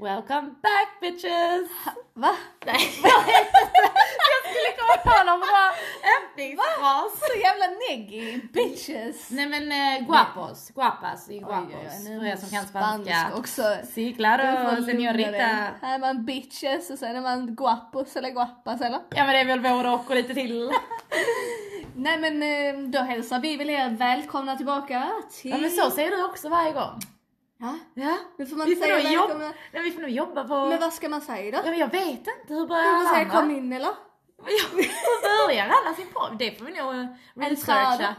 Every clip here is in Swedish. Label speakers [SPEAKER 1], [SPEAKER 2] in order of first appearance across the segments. [SPEAKER 1] Welcome back bitches!
[SPEAKER 2] Va?
[SPEAKER 1] Nej, jag vet inte. Jag skulle komma på någon bra öppningsfras.
[SPEAKER 2] Så jävla neggy, bitches!
[SPEAKER 1] Nej men eh, guapos, guapas, y guapos.
[SPEAKER 2] Oj, oj, oj, nu är
[SPEAKER 1] För er som kan
[SPEAKER 2] spansk
[SPEAKER 1] spanska.
[SPEAKER 2] också.
[SPEAKER 1] Sí,
[SPEAKER 2] Du
[SPEAKER 1] claro,
[SPEAKER 2] får lugna dig.
[SPEAKER 1] señorita.
[SPEAKER 2] Här är man bitches och sen är man guapos eller guapas eller?
[SPEAKER 1] Ja men det är väl både och och lite till.
[SPEAKER 2] Nej men eh, då hälsar vi väl er välkomna tillbaka till...
[SPEAKER 1] Ja men så säger du också varje gång.
[SPEAKER 2] Ja,
[SPEAKER 1] Ja.
[SPEAKER 2] nu får man
[SPEAKER 1] Vi
[SPEAKER 2] vi
[SPEAKER 1] får,
[SPEAKER 2] säga
[SPEAKER 1] nog jobba,
[SPEAKER 2] välkomna.
[SPEAKER 1] nej, vi får nog jobba på...
[SPEAKER 2] Men vad ska man säga då?
[SPEAKER 1] ja, men jag vet inte, hur börjar
[SPEAKER 2] Man får
[SPEAKER 1] alla
[SPEAKER 2] säga kom
[SPEAKER 1] andra?
[SPEAKER 2] in eller?
[SPEAKER 1] Hur börjar alla sin podd? Det får vi nog eh, researcha.
[SPEAKER 2] träd.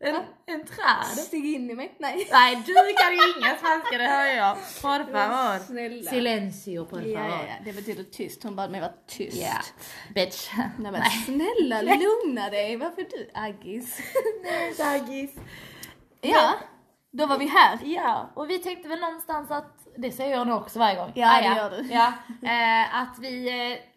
[SPEAKER 1] En, en träd?
[SPEAKER 2] Stig in i mig? Nej.
[SPEAKER 1] Nej du kan ju inga svenska, det hör jag. Por favor.
[SPEAKER 2] Snälla.
[SPEAKER 1] Silencio por
[SPEAKER 2] Ja,
[SPEAKER 1] favor.
[SPEAKER 2] ja, ja, det betyder tyst. Hon bad mig vara tyst.
[SPEAKER 1] Ja, bitch.
[SPEAKER 2] Nej men snälla lugna dig, varför är du aggis?
[SPEAKER 1] Daggis.
[SPEAKER 2] ja, då var vi här.
[SPEAKER 1] Ja, och vi tänkte väl någonstans att, det säger jag nog också varje gång. Ah,
[SPEAKER 2] Ja, det
[SPEAKER 1] ja.
[SPEAKER 2] gör du.
[SPEAKER 1] Ja, eh, att vi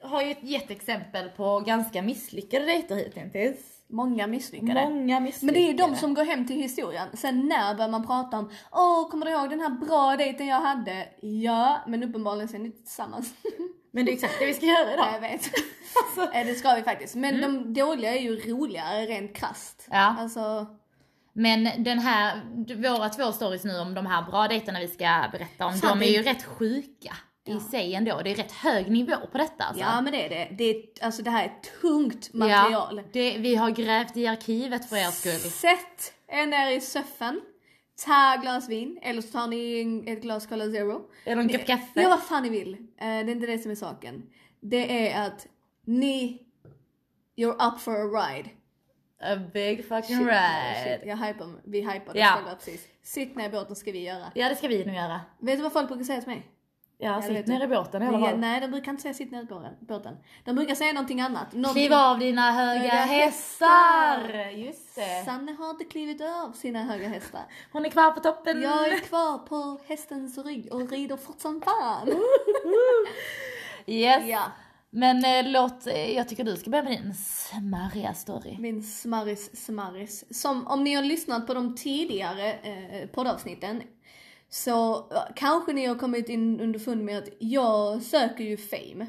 [SPEAKER 1] eh, har ju ett jätteexempel på ganska misslyckade dejter hittills.
[SPEAKER 2] Många misslyckade.
[SPEAKER 1] Många misslyckade.
[SPEAKER 2] men det är ju de som går hem till historien. Sen när börjar man prata om Åh, kommer du ihåg den här bra dejten jag hade? Ja, men uppenbarligen så är ni inte tillsammans.
[SPEAKER 1] Men det är exakt det vi ska göra
[SPEAKER 2] Ja,
[SPEAKER 1] idag.
[SPEAKER 2] jag vet.
[SPEAKER 1] Alltså.
[SPEAKER 2] Eh, det ska vi faktiskt. Men de dåliga är ju roligare rent krasst.
[SPEAKER 1] Ja.
[SPEAKER 2] Mm. Alltså,
[SPEAKER 1] Men den här, våra två stories nu om de här bra dejterna vi ska berätta om,
[SPEAKER 2] Sant,
[SPEAKER 1] de är ju
[SPEAKER 2] det-
[SPEAKER 1] rätt sjuka i
[SPEAKER 2] Ja.
[SPEAKER 1] sig ändå. Det är rätt hög nivå på detta alltså.
[SPEAKER 2] ja men det är det. Det, är, alltså, det här är tungt material.
[SPEAKER 1] Ja, det, vi har grävt i arkivet för er skull.
[SPEAKER 2] Sätt er ner i soffan, ta ett glas vin, eller så tar ni en- ett glas Cola Zero.
[SPEAKER 1] Eller en kopp kaffe.
[SPEAKER 2] Ja, vad fan ni vill. Eh, Det är inte det som är saken. Det är att ni, you're up for a ride.
[SPEAKER 1] A big fucking
[SPEAKER 2] Shit,
[SPEAKER 1] ride.
[SPEAKER 2] jag hypar, mig. vi hypar det
[SPEAKER 1] Ja.
[SPEAKER 2] själva precis. Sitt ner i båten ska vi göra.
[SPEAKER 1] Ja, det ska vi nu göra.
[SPEAKER 2] Vet du vad folk brukar säga till mig?
[SPEAKER 1] Ja,
[SPEAKER 2] vet
[SPEAKER 1] sitt
[SPEAKER 2] det.
[SPEAKER 1] ner i båten i alla
[SPEAKER 2] Ja,
[SPEAKER 1] fall.
[SPEAKER 2] nej, de brukar inte säga sitt ner i båten- båten. De brukar säga någonting annat. Någonting...
[SPEAKER 1] Kliv av dina höga
[SPEAKER 2] Höga
[SPEAKER 1] hästar! Just det.
[SPEAKER 2] Sanne har inte klivit av sina höga hästar.
[SPEAKER 1] Hon är kvar på toppen.
[SPEAKER 2] Jag är kvar på hästens rygg och rider fort som fan.
[SPEAKER 1] Yes.
[SPEAKER 2] Ja,
[SPEAKER 1] Men eh, låt, eh, jag tycker du ska börja med din smarriga story.
[SPEAKER 2] min smarris smarris. Som om ni har lyssnat på de tidigare eh, poddavsnitten så eh, kanske ni har kommit in underfund med att jag söker ju fame.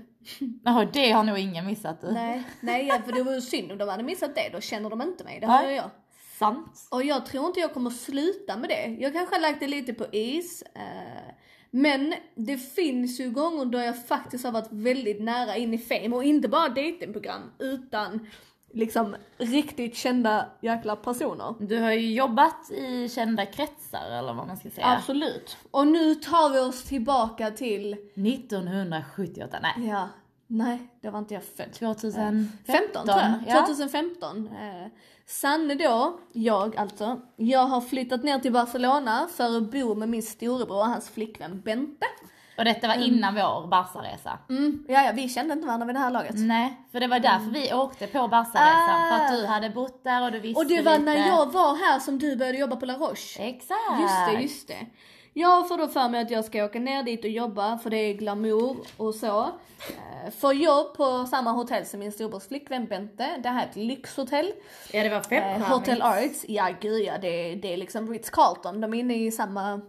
[SPEAKER 1] Jaha, det har nog ingen missat. du.
[SPEAKER 2] Nej, nej för det vore synd om de hade missat det, då känner de inte mig, det hör
[SPEAKER 1] Nej.
[SPEAKER 2] ju jag.
[SPEAKER 1] Sant.
[SPEAKER 2] Och jag tror inte jag kommer sluta med det. Jag kanske har lagt det lite på is. Eh, men det finns ju gånger då jag faktiskt har varit väldigt nära in i fame och inte bara datingprogram utan liksom riktigt kända jäkla personer.
[SPEAKER 1] Du har ju jobbat i kända kretsar eller vad man ska säga.
[SPEAKER 2] Absolut. Och nu tar vi oss tillbaka till,
[SPEAKER 1] 1978, nej.
[SPEAKER 2] ja, nej det var inte jag född.
[SPEAKER 1] 2015
[SPEAKER 2] 15 tror jag.
[SPEAKER 1] Ja.
[SPEAKER 2] 2015. Eh, Sanne då, jag alltså, jag har flyttat ner till Barcelona för att bo med min storebror och hans flickvän Bente.
[SPEAKER 1] Och detta var innan vår Barsaresa.
[SPEAKER 2] Mm, ja, ja, vi kände inte varandra vid det här laget.
[SPEAKER 1] Nej, för det var därför vi åkte på Barsaresan. För att du hade bott där och du visste
[SPEAKER 2] Ah. Och det var
[SPEAKER 1] lite.
[SPEAKER 2] när jag var här som du började jobba på La Roche.
[SPEAKER 1] Exakt!
[SPEAKER 2] Just det, just det. Jag får då för mig att jag ska åka ner dit och jobba för det är glamour och så. Eh, Får jobb på samma hotell som min storbrors flickvän Bente. Det här är ett lyxhotell.
[SPEAKER 1] Ja det var fem
[SPEAKER 2] Eh, Hotel Arts, ja gud ja det, det är liksom Ritz Carlton, de är inne i samma...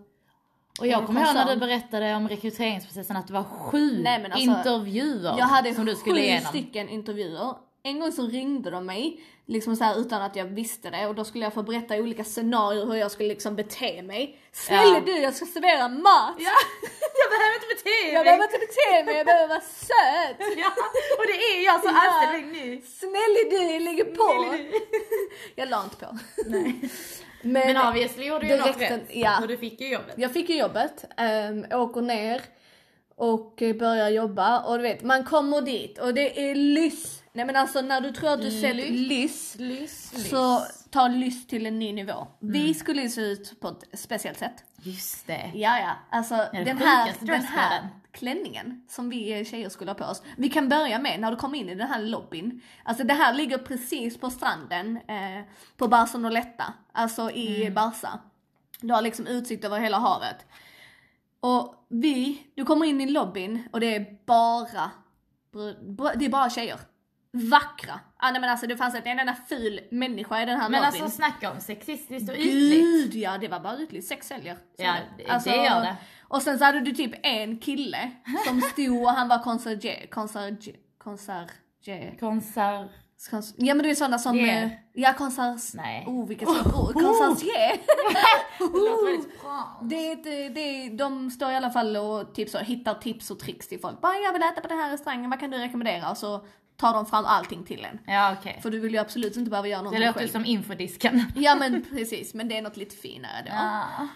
[SPEAKER 1] Och jag kommer ihåg när
[SPEAKER 2] koncern.
[SPEAKER 1] du berättade om rekryteringsprocessen att det var sju
[SPEAKER 2] Nej, men alltså,
[SPEAKER 1] intervjuer
[SPEAKER 2] Jag hade
[SPEAKER 1] som du skulle
[SPEAKER 2] sju
[SPEAKER 1] igenom.
[SPEAKER 2] stycken intervjuer. En gång så ringde de mig, liksom så här, utan att jag visste det och då skulle jag få berätta i olika scenarier hur jag skulle liksom bete mig. Snälla
[SPEAKER 1] Ja.
[SPEAKER 2] du, jag ska servera mat!
[SPEAKER 1] Ja, jag behöver inte bete
[SPEAKER 2] Jag behöver inte bete mig, jag behöver vara söt!
[SPEAKER 1] Ja, och det är jag som
[SPEAKER 2] Ja.
[SPEAKER 1] anställd nu.
[SPEAKER 2] Snälla du, jag ligger på!
[SPEAKER 1] Snälla
[SPEAKER 2] Jag la inte på.
[SPEAKER 1] Nej.
[SPEAKER 2] Men,
[SPEAKER 1] Men obviously gjorde ju något
[SPEAKER 2] Direkt en-
[SPEAKER 1] rätt.
[SPEAKER 2] ja.
[SPEAKER 1] Och du fick ju jobbet.
[SPEAKER 2] Jag fick ju jobbet, um, åker ner och eh, börjar jobba och du vet man kommer dit och det är lyss. Nej men alltså när du tror att du sett
[SPEAKER 1] Lyss.
[SPEAKER 2] lyss
[SPEAKER 1] Lyss,
[SPEAKER 2] så ta lyss Mm. till en ny nivå. Vi skulle ju se ut på ett speciellt sätt.
[SPEAKER 1] Just det.
[SPEAKER 2] Ja ja, alltså
[SPEAKER 1] är
[SPEAKER 2] den
[SPEAKER 1] det
[SPEAKER 2] här,
[SPEAKER 1] sjukaste
[SPEAKER 2] den här
[SPEAKER 1] dresscoden.
[SPEAKER 2] klänningen som vi eh, tjejer skulle ha på oss. Vi kan börja med när du kommer in i den här lobbyn. Alltså det här ligger precis på stranden eh, på Barceloneta, alltså i
[SPEAKER 1] Mm.
[SPEAKER 2] Barca. Du har liksom utsikt över hela havet. Och vi, du kommer in i lobbyn och det är bara, br- br- det är bara tjejer. Vackra. Ah, nej men alltså det fanns inte en enda ful människa i den här
[SPEAKER 1] Men
[SPEAKER 2] lobbyn.
[SPEAKER 1] alltså snacka om sexistiskt och ytligt.
[SPEAKER 2] Gud ja, det var bara ytligt. Sex säljer.
[SPEAKER 1] Ja,
[SPEAKER 2] Så
[SPEAKER 1] det- det gör det.
[SPEAKER 2] Och sen så hade du typ en kille som stod och han var konserge, konserge, konserge.
[SPEAKER 1] Konsert...
[SPEAKER 2] Kons- ja men det är sådana som...
[SPEAKER 1] Yeah.
[SPEAKER 2] eh, Ja konsers...
[SPEAKER 1] Nej.
[SPEAKER 2] Oh vilket svårt ord. Konserge.
[SPEAKER 1] Det låter väldigt bra.
[SPEAKER 2] Det är, ett, eh, det är, de står i alla fall och typ så, hittar tips och tricks till folk. Bara jag vill äta på den här restaurangen, vad kan du rekommendera? Och så tar de fram allting till en.
[SPEAKER 1] Ja okej.
[SPEAKER 2] För du vill ju absolut inte behöva göra
[SPEAKER 1] Det
[SPEAKER 2] någonting
[SPEAKER 1] låter
[SPEAKER 2] själv.
[SPEAKER 1] som infodisken.
[SPEAKER 2] Ja men precis, men det är något lite finare då.
[SPEAKER 1] Ah.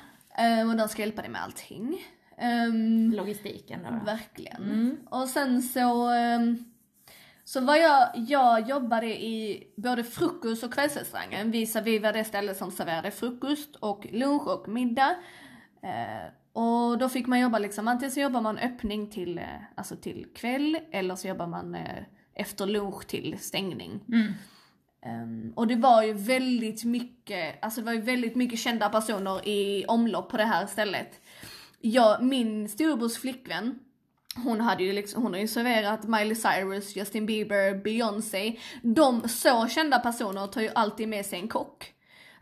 [SPEAKER 2] Ehm, och de ska hjälpa dig med allting. Ehm,
[SPEAKER 1] Logistiken då. då.
[SPEAKER 2] Verkligen. Och sen så, ehm, så var jag, jag jobbade i både frukost och kvällsrestaurangen. Visar vi var det ställe som serverade frukost och lunch och middag. Eh, och då fick man jobba liksom, antingen så jobbar man öppning till, eh, alltså till kväll eller så jobbar man eh, efter lunch till stängning.
[SPEAKER 1] Mm.
[SPEAKER 2] Ehm, och det var ju väldigt mycket, alltså det var ju väldigt mycket kända personer i omlopp på det här stället. Jag, min storebrors flickvän, hon hade ju liksom, hon har ju serverat Miley Cyrus, Justin Bieber, Beyoncé. De så kända personer tar ju alltid med sig en kock.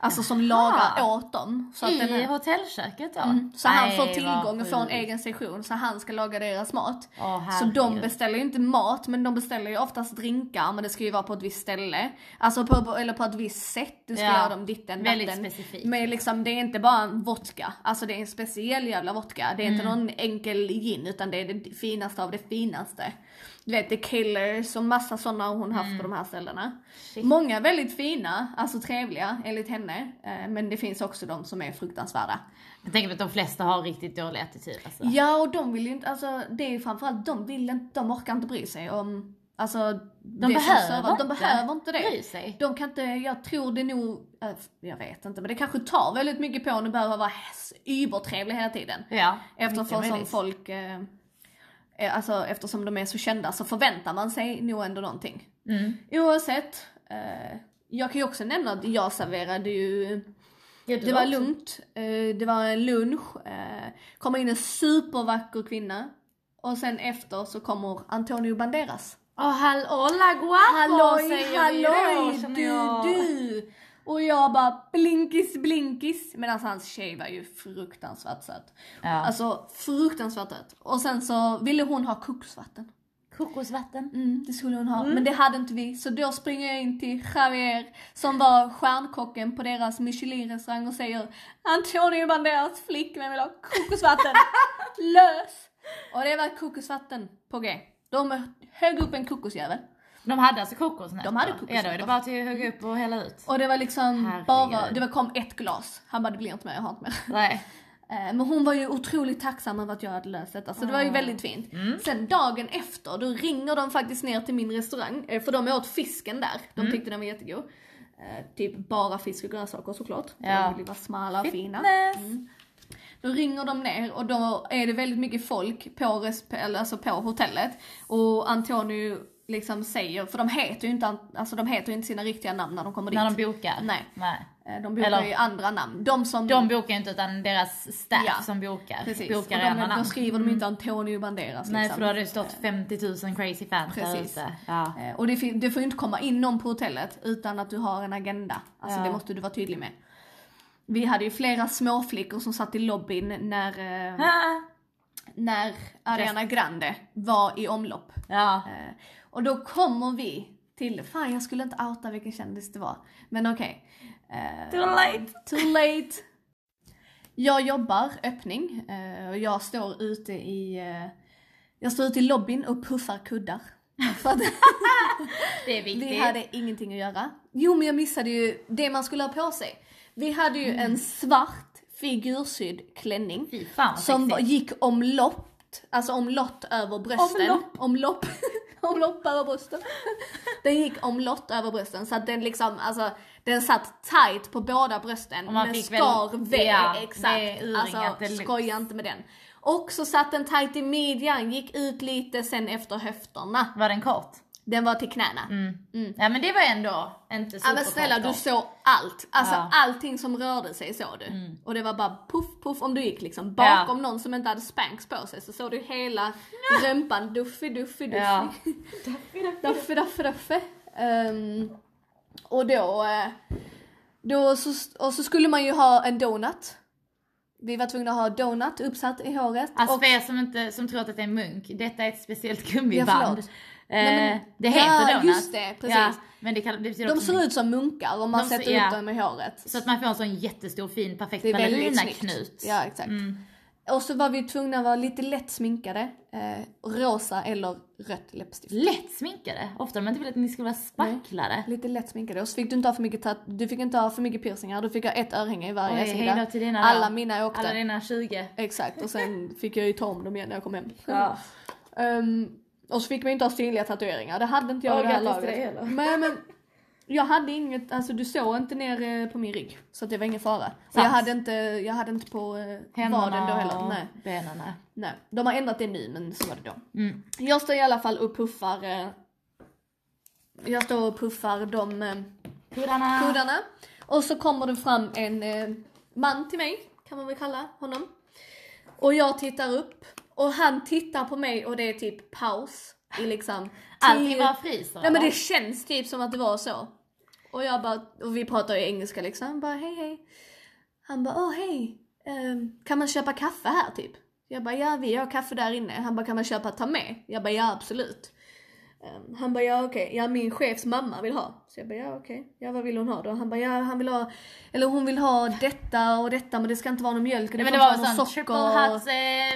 [SPEAKER 2] Alltså som lagar åt dem. Så att den
[SPEAKER 1] I
[SPEAKER 2] här,
[SPEAKER 1] hotellköket då?
[SPEAKER 2] Mm, så han får
[SPEAKER 1] Nej,
[SPEAKER 2] tillgång och
[SPEAKER 1] vad
[SPEAKER 2] får en
[SPEAKER 1] sjukt.
[SPEAKER 2] egen sektion så han ska laga deras mat.
[SPEAKER 1] Åh,
[SPEAKER 2] Så de
[SPEAKER 1] herregud.
[SPEAKER 2] beställer ju inte mat men de beställer ju oftast drinkar men det ska ju vara på ett visst ställe. Alltså på, eller på ett visst sätt. Du ska
[SPEAKER 1] Ja,
[SPEAKER 2] göra dem ditten
[SPEAKER 1] väldigt
[SPEAKER 2] datten.
[SPEAKER 1] specifikt.
[SPEAKER 2] Men liksom det är inte bara en vodka. Alltså det är en speciell jävla vodka. Det är
[SPEAKER 1] Mm.
[SPEAKER 2] inte någon enkel gin utan det är det finaste av det finaste. Du vet det är killers och massa sådana har hon haft på de här ställena.
[SPEAKER 1] Mm. Shit.
[SPEAKER 2] Många väldigt fina, alltså trevliga enligt henne. Eh, Men det finns också de som är fruktansvärda.
[SPEAKER 1] Jag tänker att de flesta har riktigt dålig attityd alltså.
[SPEAKER 2] Ja och de vill ju inte, alltså det är ju framförallt de vill inte, de orkar inte bry sig om, alltså de
[SPEAKER 1] behöver
[SPEAKER 2] de
[SPEAKER 1] inte
[SPEAKER 2] behöver inte det.
[SPEAKER 1] Bry sig.
[SPEAKER 2] De kan inte, jag tror det nog, eh, jag vet inte men det kanske tar väldigt mycket på en att behöva vara s- übertrevlig hela tiden.
[SPEAKER 1] Ja.
[SPEAKER 2] Eftersom
[SPEAKER 1] mycket
[SPEAKER 2] som
[SPEAKER 1] möjligt.
[SPEAKER 2] folk, eh, eh, alltså eftersom de är så kända så förväntar man sig nog ändå någonting.
[SPEAKER 1] Mm.
[SPEAKER 2] Oavsett, eh, jag kan ju också nämna att jag serverade ju
[SPEAKER 1] Gud,
[SPEAKER 2] det var lugnt, eh, det var en lunch, eh, kom in en supervacker kvinna och sen efter så kommer Antonio Banderas.
[SPEAKER 1] Åh, hall- hola guapo
[SPEAKER 2] Halloj,
[SPEAKER 1] säger vi då,
[SPEAKER 2] halloj,
[SPEAKER 1] känner
[SPEAKER 2] du,
[SPEAKER 1] jag.
[SPEAKER 2] du! Och jag bara blinkis, blinkis. Medan hans tjej var ju fruktansvärt söt.
[SPEAKER 1] Ja.
[SPEAKER 2] Alltså fruktansvärt söt. Och sen så ville hon ha kokosvatten.
[SPEAKER 1] Kokosvatten.
[SPEAKER 2] Mm, det skulle hon ha. Men det hade inte vi. Så då springer jag in till Javier som var stjärnkocken på deras Michelin-restaurang och säger Antonio Banderas flickvän vill ha kokosvatten. Lös! Och det var kokosvatten på G. De högg upp en kokosjävel.
[SPEAKER 1] De hade alltså kokosnötter?
[SPEAKER 2] De hade
[SPEAKER 1] Ja då är det
[SPEAKER 2] kokosnötter.
[SPEAKER 1] bara till att hugga upp och hälla ut.
[SPEAKER 2] Och det var liksom
[SPEAKER 1] Herregud.
[SPEAKER 2] bara, det var kom ett glas. Han bara det blir inte mer, jag har inte mer.
[SPEAKER 1] Nej.
[SPEAKER 2] Eh, Men hon var ju otroligt tacksam över att jag hade löst detta, så det
[SPEAKER 1] Ah.
[SPEAKER 2] var ju väldigt fint.
[SPEAKER 1] Mm.
[SPEAKER 2] Sen dagen efter, då ringer de faktiskt ner till min restaurang, eh, för de åt fisken där. De
[SPEAKER 1] Mm.
[SPEAKER 2] tyckte den var jättegod. Eh, Typ bara fisk och grönsaker såklart. för
[SPEAKER 1] Ja.
[SPEAKER 2] De vill ju vara smala och fina.
[SPEAKER 1] Fitness.
[SPEAKER 2] Då ringer de ner och då är det väldigt mycket folk på, resp- eller alltså på hotellet. Och Antonio liksom säger, för de heter ju inte, an- alltså de heter ju inte sina riktiga namn när de kommer dit.
[SPEAKER 1] När de bokar?
[SPEAKER 2] Nej.
[SPEAKER 1] Nej.
[SPEAKER 2] Eh, De bokar
[SPEAKER 1] Eller-
[SPEAKER 2] ju andra namn. De som...
[SPEAKER 1] De bokar ju inte utan deras staff
[SPEAKER 2] Ja,
[SPEAKER 1] som bokar.
[SPEAKER 2] precis. Och
[SPEAKER 1] Bokar i andra
[SPEAKER 2] de, då
[SPEAKER 1] namn.
[SPEAKER 2] skriver de inte Antonio Banderas
[SPEAKER 1] Nej
[SPEAKER 2] liksom.
[SPEAKER 1] för då hade det stått 50 000 crazy fans där
[SPEAKER 2] Precis.
[SPEAKER 1] ute. Ja.
[SPEAKER 2] Eh, Och det, fin- det får ju inte komma in någon på hotellet utan att du har en agenda. Alltså
[SPEAKER 1] Ja.
[SPEAKER 2] det måste du vara tydlig med. Vi hade ju flera småflickor som satt i lobbyn när, eh,
[SPEAKER 1] Ah.
[SPEAKER 2] när Ariana Grande var i omlopp.
[SPEAKER 1] Ja.
[SPEAKER 2] Eh, Och då kommer vi till, fan jag skulle inte outa vilken kändis det var. Men okej. Eh,
[SPEAKER 1] Too late.
[SPEAKER 2] Too late. Jag jobbar öppning eh, och jag står ute i, eh, jag står ute i lobbyn och puffar kuddar. För att
[SPEAKER 1] Det är viktigt.
[SPEAKER 2] vi hade ingenting att göra. Jo men jag missade ju det man skulle ha på sig. Vi hade ju en svart figursydd klänning.
[SPEAKER 1] Fy fan vad
[SPEAKER 2] Som var,
[SPEAKER 1] sexigt.
[SPEAKER 2] gick omlott, alltså omlott över brösten.
[SPEAKER 1] Omlopp.
[SPEAKER 2] Omlopp. omlopp över brösten. Den gick omlott över brösten så att den liksom, alltså den satt tight på båda brösten
[SPEAKER 1] Och man
[SPEAKER 2] men
[SPEAKER 1] fick väl-
[SPEAKER 2] skar V.
[SPEAKER 1] ja,
[SPEAKER 2] exakt.
[SPEAKER 1] det är urringat
[SPEAKER 2] Alltså
[SPEAKER 1] deluxe.
[SPEAKER 2] skoja inte med den. Och så satt den tight i midjan, gick ut lite sen efter höfterna.
[SPEAKER 1] Var den kort?
[SPEAKER 2] Den var till knäna.
[SPEAKER 1] Mm. Ja men det var ändå inte
[SPEAKER 2] Ja
[SPEAKER 1] superkort.
[SPEAKER 2] men snälla
[SPEAKER 1] då.
[SPEAKER 2] du såg allt, alltså
[SPEAKER 1] Ja. Mm.
[SPEAKER 2] allting som rörde sig såg du. Och det var bara puff puff om du gick liksom bakom någon som inte hade spanks på sig så såg du hela rumpan duffi duffi duffi.
[SPEAKER 1] Ja.
[SPEAKER 2] Duffi duffi duffi. Ehm, och då, eh, då så, och så skulle man ju ha en donut. Vi var tvungna att ha donut uppsatt i håret.
[SPEAKER 1] Alltså
[SPEAKER 2] och,
[SPEAKER 1] för er som, inte, som tror att det är en munk, detta är ett speciellt
[SPEAKER 2] Ja,
[SPEAKER 1] gummiband.
[SPEAKER 2] förlåt.
[SPEAKER 1] eh,
[SPEAKER 2] men-
[SPEAKER 1] det heter
[SPEAKER 2] Ja,
[SPEAKER 1] donut.
[SPEAKER 2] just det, precis.
[SPEAKER 1] Ja, men det, kan, det betyder
[SPEAKER 2] de
[SPEAKER 1] också
[SPEAKER 2] ser
[SPEAKER 1] munk.
[SPEAKER 2] ut som munkar om man
[SPEAKER 1] De ser-
[SPEAKER 2] sätter
[SPEAKER 1] ja.
[SPEAKER 2] upp dem i håret.
[SPEAKER 1] Så att man får en sån jättestor fin perfekt Mm.
[SPEAKER 2] Det är väldigt snyggt.
[SPEAKER 1] ballerinaknut.
[SPEAKER 2] Ja, exakt. Och så var vi tvungna att vara lite lätt sminkade. Eh, rosa eller rött läppstift.
[SPEAKER 1] Lätt sminkade. Ofta har man inte velat att ni skulle vara spacklade.
[SPEAKER 2] Lite lätt sminkade. Och så fick du inte ha för mycket, tat- du fick inte ha för mycket piercingar. Du fick ha ett örhänge i varje
[SPEAKER 1] Oj,
[SPEAKER 2] sida.
[SPEAKER 1] hej då till dina då.
[SPEAKER 2] Alla mina åkte.
[SPEAKER 1] Alla dina 20.
[SPEAKER 2] Exakt. Och sen fick jag ju ta om dem igen när jag kom hem.
[SPEAKER 1] Ja.
[SPEAKER 2] Ehm, och så fick man inte ha synliga tatueringar. Det hade inte jag
[SPEAKER 1] Åh,
[SPEAKER 2] i det här
[SPEAKER 1] grattis till
[SPEAKER 2] laget.
[SPEAKER 1] dig, eller?
[SPEAKER 2] men, men, jag hade inget, alltså du såg inte ner eh, på min rygg. Så att det var ingen fara. Och jag
[SPEAKER 1] Sant.
[SPEAKER 2] hade inte, jag hade inte på eh, vaden då heller.
[SPEAKER 1] och
[SPEAKER 2] Nej.
[SPEAKER 1] benen.
[SPEAKER 2] Nej, de har ändrat det nu men så var det då.
[SPEAKER 1] Mm.
[SPEAKER 2] Jag står i alla fall och puffar eh, Jag står och puffar de eh,
[SPEAKER 1] Kuddarna.
[SPEAKER 2] kuddarna. Och så kommer det fram en eh, man till mig, kan man väl kalla honom. Och jag tittar upp och han tittar på mig och det är typ paus i liksom
[SPEAKER 1] Allting
[SPEAKER 2] tio-
[SPEAKER 1] bara fryser.
[SPEAKER 2] Nej men
[SPEAKER 1] va?
[SPEAKER 2] det känns typ som att det var så. Och jag bara, och vi pratar ju engelska liksom, Han bara hej hej. Han bara, åh hej, Ehm, kan man köpa kaffe här typ? Jag bara, ja vi har kaffe där inne. Han bara, kan man köpa ta med? Jag bara, ja absolut. Ehm, han bara, ja okej, ja min chefs mamma vill ha. Så jag bara, ja okej, ja vad vill hon ha då? Han bara, ja han vill ha, eller hon vill ha detta och detta men det ska inte vara någon mjölk och
[SPEAKER 1] Nej,
[SPEAKER 2] det
[SPEAKER 1] men
[SPEAKER 2] får
[SPEAKER 1] det
[SPEAKER 2] inte
[SPEAKER 1] var
[SPEAKER 2] vara
[SPEAKER 1] väl
[SPEAKER 2] någon
[SPEAKER 1] sån triple
[SPEAKER 2] socker.
[SPEAKER 1] hats,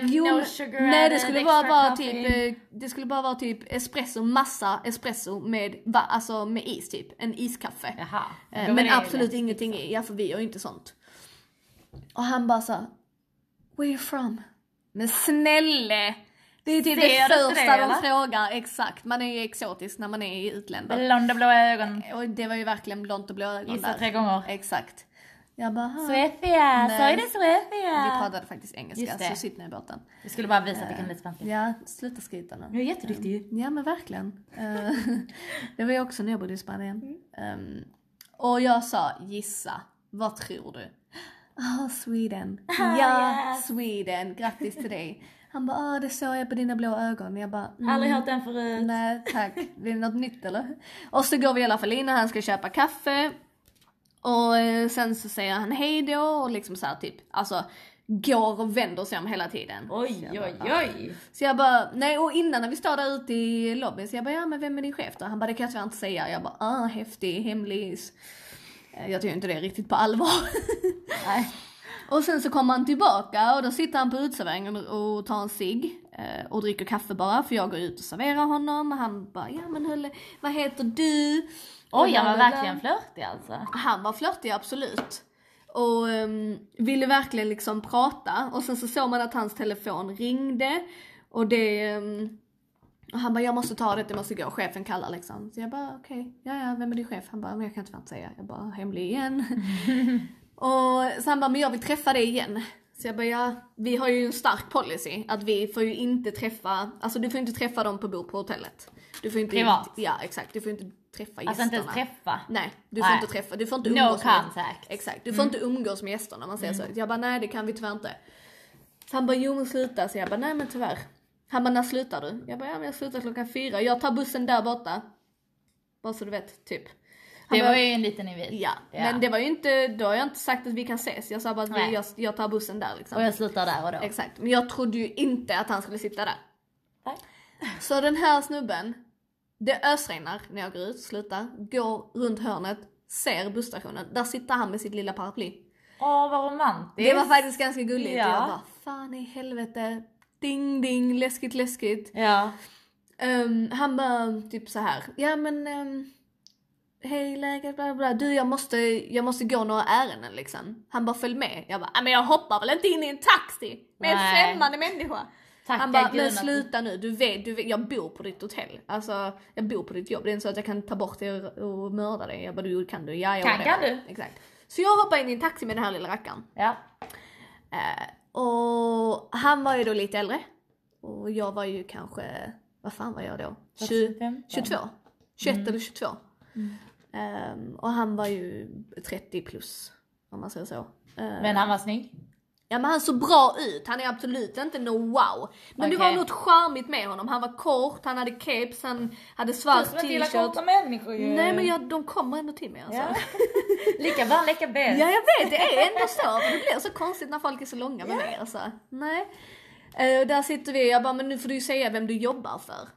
[SPEAKER 1] eh,
[SPEAKER 2] Jo,
[SPEAKER 1] no
[SPEAKER 2] men-
[SPEAKER 1] sugar
[SPEAKER 2] nej det
[SPEAKER 1] added,
[SPEAKER 2] skulle
[SPEAKER 1] extra
[SPEAKER 2] bara vara
[SPEAKER 1] coffee.
[SPEAKER 2] typ, eh, det skulle bara vara typ espresso, massa espresso med, va, alltså med is typ, en iskaffe.
[SPEAKER 1] Jaha.
[SPEAKER 2] Eh,
[SPEAKER 1] Då var
[SPEAKER 2] Men
[SPEAKER 1] det
[SPEAKER 2] absolut
[SPEAKER 1] lätt.
[SPEAKER 2] ingenting i, ja för vi gör ju inte sånt. Och han bara såhär, where you from? Men snälle! Det är typ
[SPEAKER 1] Ser du
[SPEAKER 2] det
[SPEAKER 1] inte
[SPEAKER 2] första
[SPEAKER 1] det,
[SPEAKER 2] de
[SPEAKER 1] eller?
[SPEAKER 2] frågar, exakt. Man är ju exotisk när man är i utländer.
[SPEAKER 1] Blonda blåa ögon.
[SPEAKER 2] Och det var ju verkligen blont och blå ögon
[SPEAKER 1] Mm. Gissa tre
[SPEAKER 2] där.
[SPEAKER 1] gånger.
[SPEAKER 2] Exakt. Jag bara, "Ha."
[SPEAKER 1] Swefia,
[SPEAKER 2] Nej.
[SPEAKER 1] sa ju det
[SPEAKER 2] vi
[SPEAKER 1] Swefia.
[SPEAKER 2] pratade faktiskt engelska
[SPEAKER 1] Just det.
[SPEAKER 2] så sitter ni i båten.
[SPEAKER 1] Vi skulle bara visa att vi kan lite spanska.
[SPEAKER 2] Ja, sluta skryta nu. Ehm,
[SPEAKER 1] är jätteduktig ju.
[SPEAKER 2] Ja men verkligen. Eh, det var jag också när jag bodde i Spanien.
[SPEAKER 1] Mm.
[SPEAKER 2] Ehm, och jag sa gissa, vad tror du? Ah, Sweden. Ja,
[SPEAKER 1] Ah, yes.
[SPEAKER 2] Sweden. Grattis till dig. Han bara, ah, det såg jag på dina blå ögon. Jag bara, mm,
[SPEAKER 1] Aldrig hört den förut.
[SPEAKER 2] nej tack. Blir det något nytt eller? Och så går vi i alla fall in och han ska köpa kaffe. Och eh, sen så säger han hej då och liksom så här typ, alltså går och vänder sig om hela tiden.
[SPEAKER 1] Oj, oj,
[SPEAKER 2] "Ah,
[SPEAKER 1] oj.
[SPEAKER 2] Så jag bara, nej och innan när vi står där ute i lobbyn så jag bara, ja men vem är din chef då? Han bara, det kan jag tyvärr inte säga. Jag bara, ah häftig, hemlis. Eh, Jag tog inte det riktigt på allvar.
[SPEAKER 1] Nej.
[SPEAKER 2] och sen så kommer han tillbaka och då sitter han på uteserveringen och och tar en cigg. eh, Och dricker kaffe bara för jag går ut och serverar honom och han bara, ja men höll, vad heter du? Och
[SPEAKER 1] Oj, han var
[SPEAKER 2] blablabla.
[SPEAKER 1] verkligen flörtig alltså.
[SPEAKER 2] Han var flörtig, absolut. Och ehm, ville verkligen liksom prata. Och sen så såg man att hans telefon ringde. Och det... ehm, och han bara, jag måste ta det, det måste gå, chefen kallar liksom. Så jag bara, okej, ja ja, vem är din chef? Han bara, men jag kan tyvärr inte säga. Jag bara, hemlig igen. och så han bara, men jag vill träffa dig igen. Så jag bara, ja, vi har ju en stark policy att vi får ju inte träffa, alltså du får inte träffa dem på bord på hotellet. Du får inte,
[SPEAKER 1] Privat.
[SPEAKER 2] Ja exakt, du får inte träffa
[SPEAKER 1] Alltså inte ens träffa.
[SPEAKER 2] Nej, du får
[SPEAKER 1] Nej.
[SPEAKER 2] inte träffa, du får inte
[SPEAKER 1] No
[SPEAKER 2] umgås med
[SPEAKER 1] contact. Mm.
[SPEAKER 2] Exakt, du får inte umgås med gästerna om man säger så. Jag bara nej det kan vi tyvärr inte. Så han bara jo men sluta, så jag bara nej men tyvärr. Han bara när slutar du? Jag bara ja men jag slutar klockan fyra, jag tar bussen där borta. Bara så du vet, typ. Han
[SPEAKER 1] Det
[SPEAKER 2] bara,
[SPEAKER 1] var ju en liten invit.
[SPEAKER 2] Ja, men det var ju inte, då har jag inte sagt att vi kan ses. Jag sa bara att vi,
[SPEAKER 1] Nej.
[SPEAKER 2] jag, jag tar bussen där liksom.
[SPEAKER 1] Och jag slutar där och då.
[SPEAKER 2] Exakt, men jag trodde ju inte att han skulle sitta där.
[SPEAKER 1] Nej.
[SPEAKER 2] Så den här snubben, det ösregnar när jag går ut, slutar, går runt hörnet, ser busstationen. Där sitter han med sitt lilla paraply.
[SPEAKER 1] Åh, vad romantiskt.
[SPEAKER 2] Det var faktiskt ganska gulligt.
[SPEAKER 1] Ja.
[SPEAKER 2] Jag bara, fan i helvete. Ding ding, läskigt läskigt.
[SPEAKER 1] Ja.
[SPEAKER 2] Ehm, han bara typ så här. ja men ehm, hej läget bla bla, bla. Du jag måste, jag måste gå några ärenden liksom. Han bara följ med. Jag bara, "Ja, men jag hoppar väl inte in i en taxi med en
[SPEAKER 1] Nej.
[SPEAKER 2] främmande människa.
[SPEAKER 1] Tacka
[SPEAKER 2] han bara,
[SPEAKER 1] gud
[SPEAKER 2] men
[SPEAKER 1] att-
[SPEAKER 2] sluta nu, du vet, du vet, jag bor på ditt hotell. Alltså jag bor på ditt jobb, det är inte så att jag kan ta bort dig och- och mörda dig. Jag bara, du kan du, ja jag
[SPEAKER 1] Kan,
[SPEAKER 2] whatever."
[SPEAKER 1] kan du.
[SPEAKER 2] Exakt. Så jag hoppar in i en taxi med den här lilla rackaren.
[SPEAKER 1] Ja.
[SPEAKER 2] Eh, och han var ju då lite äldre. Och jag var ju kanske, vad fan var jag då?
[SPEAKER 1] Fast
[SPEAKER 2] 20,
[SPEAKER 1] 15.
[SPEAKER 2] 22? 21
[SPEAKER 1] Mm.
[SPEAKER 2] eller 22. Ehm, och han var ju 30 plus, om man säger så. Eh,
[SPEAKER 1] Men han var snygg.
[SPEAKER 2] Ja men han såg bra ut, han är absolut inte no wow. Men det var
[SPEAKER 1] Okej.
[SPEAKER 2] något charmigt med honom, han var kort, han hade keps, han hade svart
[SPEAKER 1] Fast gillar
[SPEAKER 2] t-shirt.
[SPEAKER 1] korta människor ju.
[SPEAKER 2] Nej men jag, de kommer ändå till mig alltså.
[SPEAKER 1] Ja. Lika bra, lika bäst.
[SPEAKER 2] Ja jag vet, det är ändå så. För det blir så konstigt när folk är så långa med mig alltså. Nej. Eh, och där sitter vi och jag bara, men nu får du ju säga vem du jobbar för.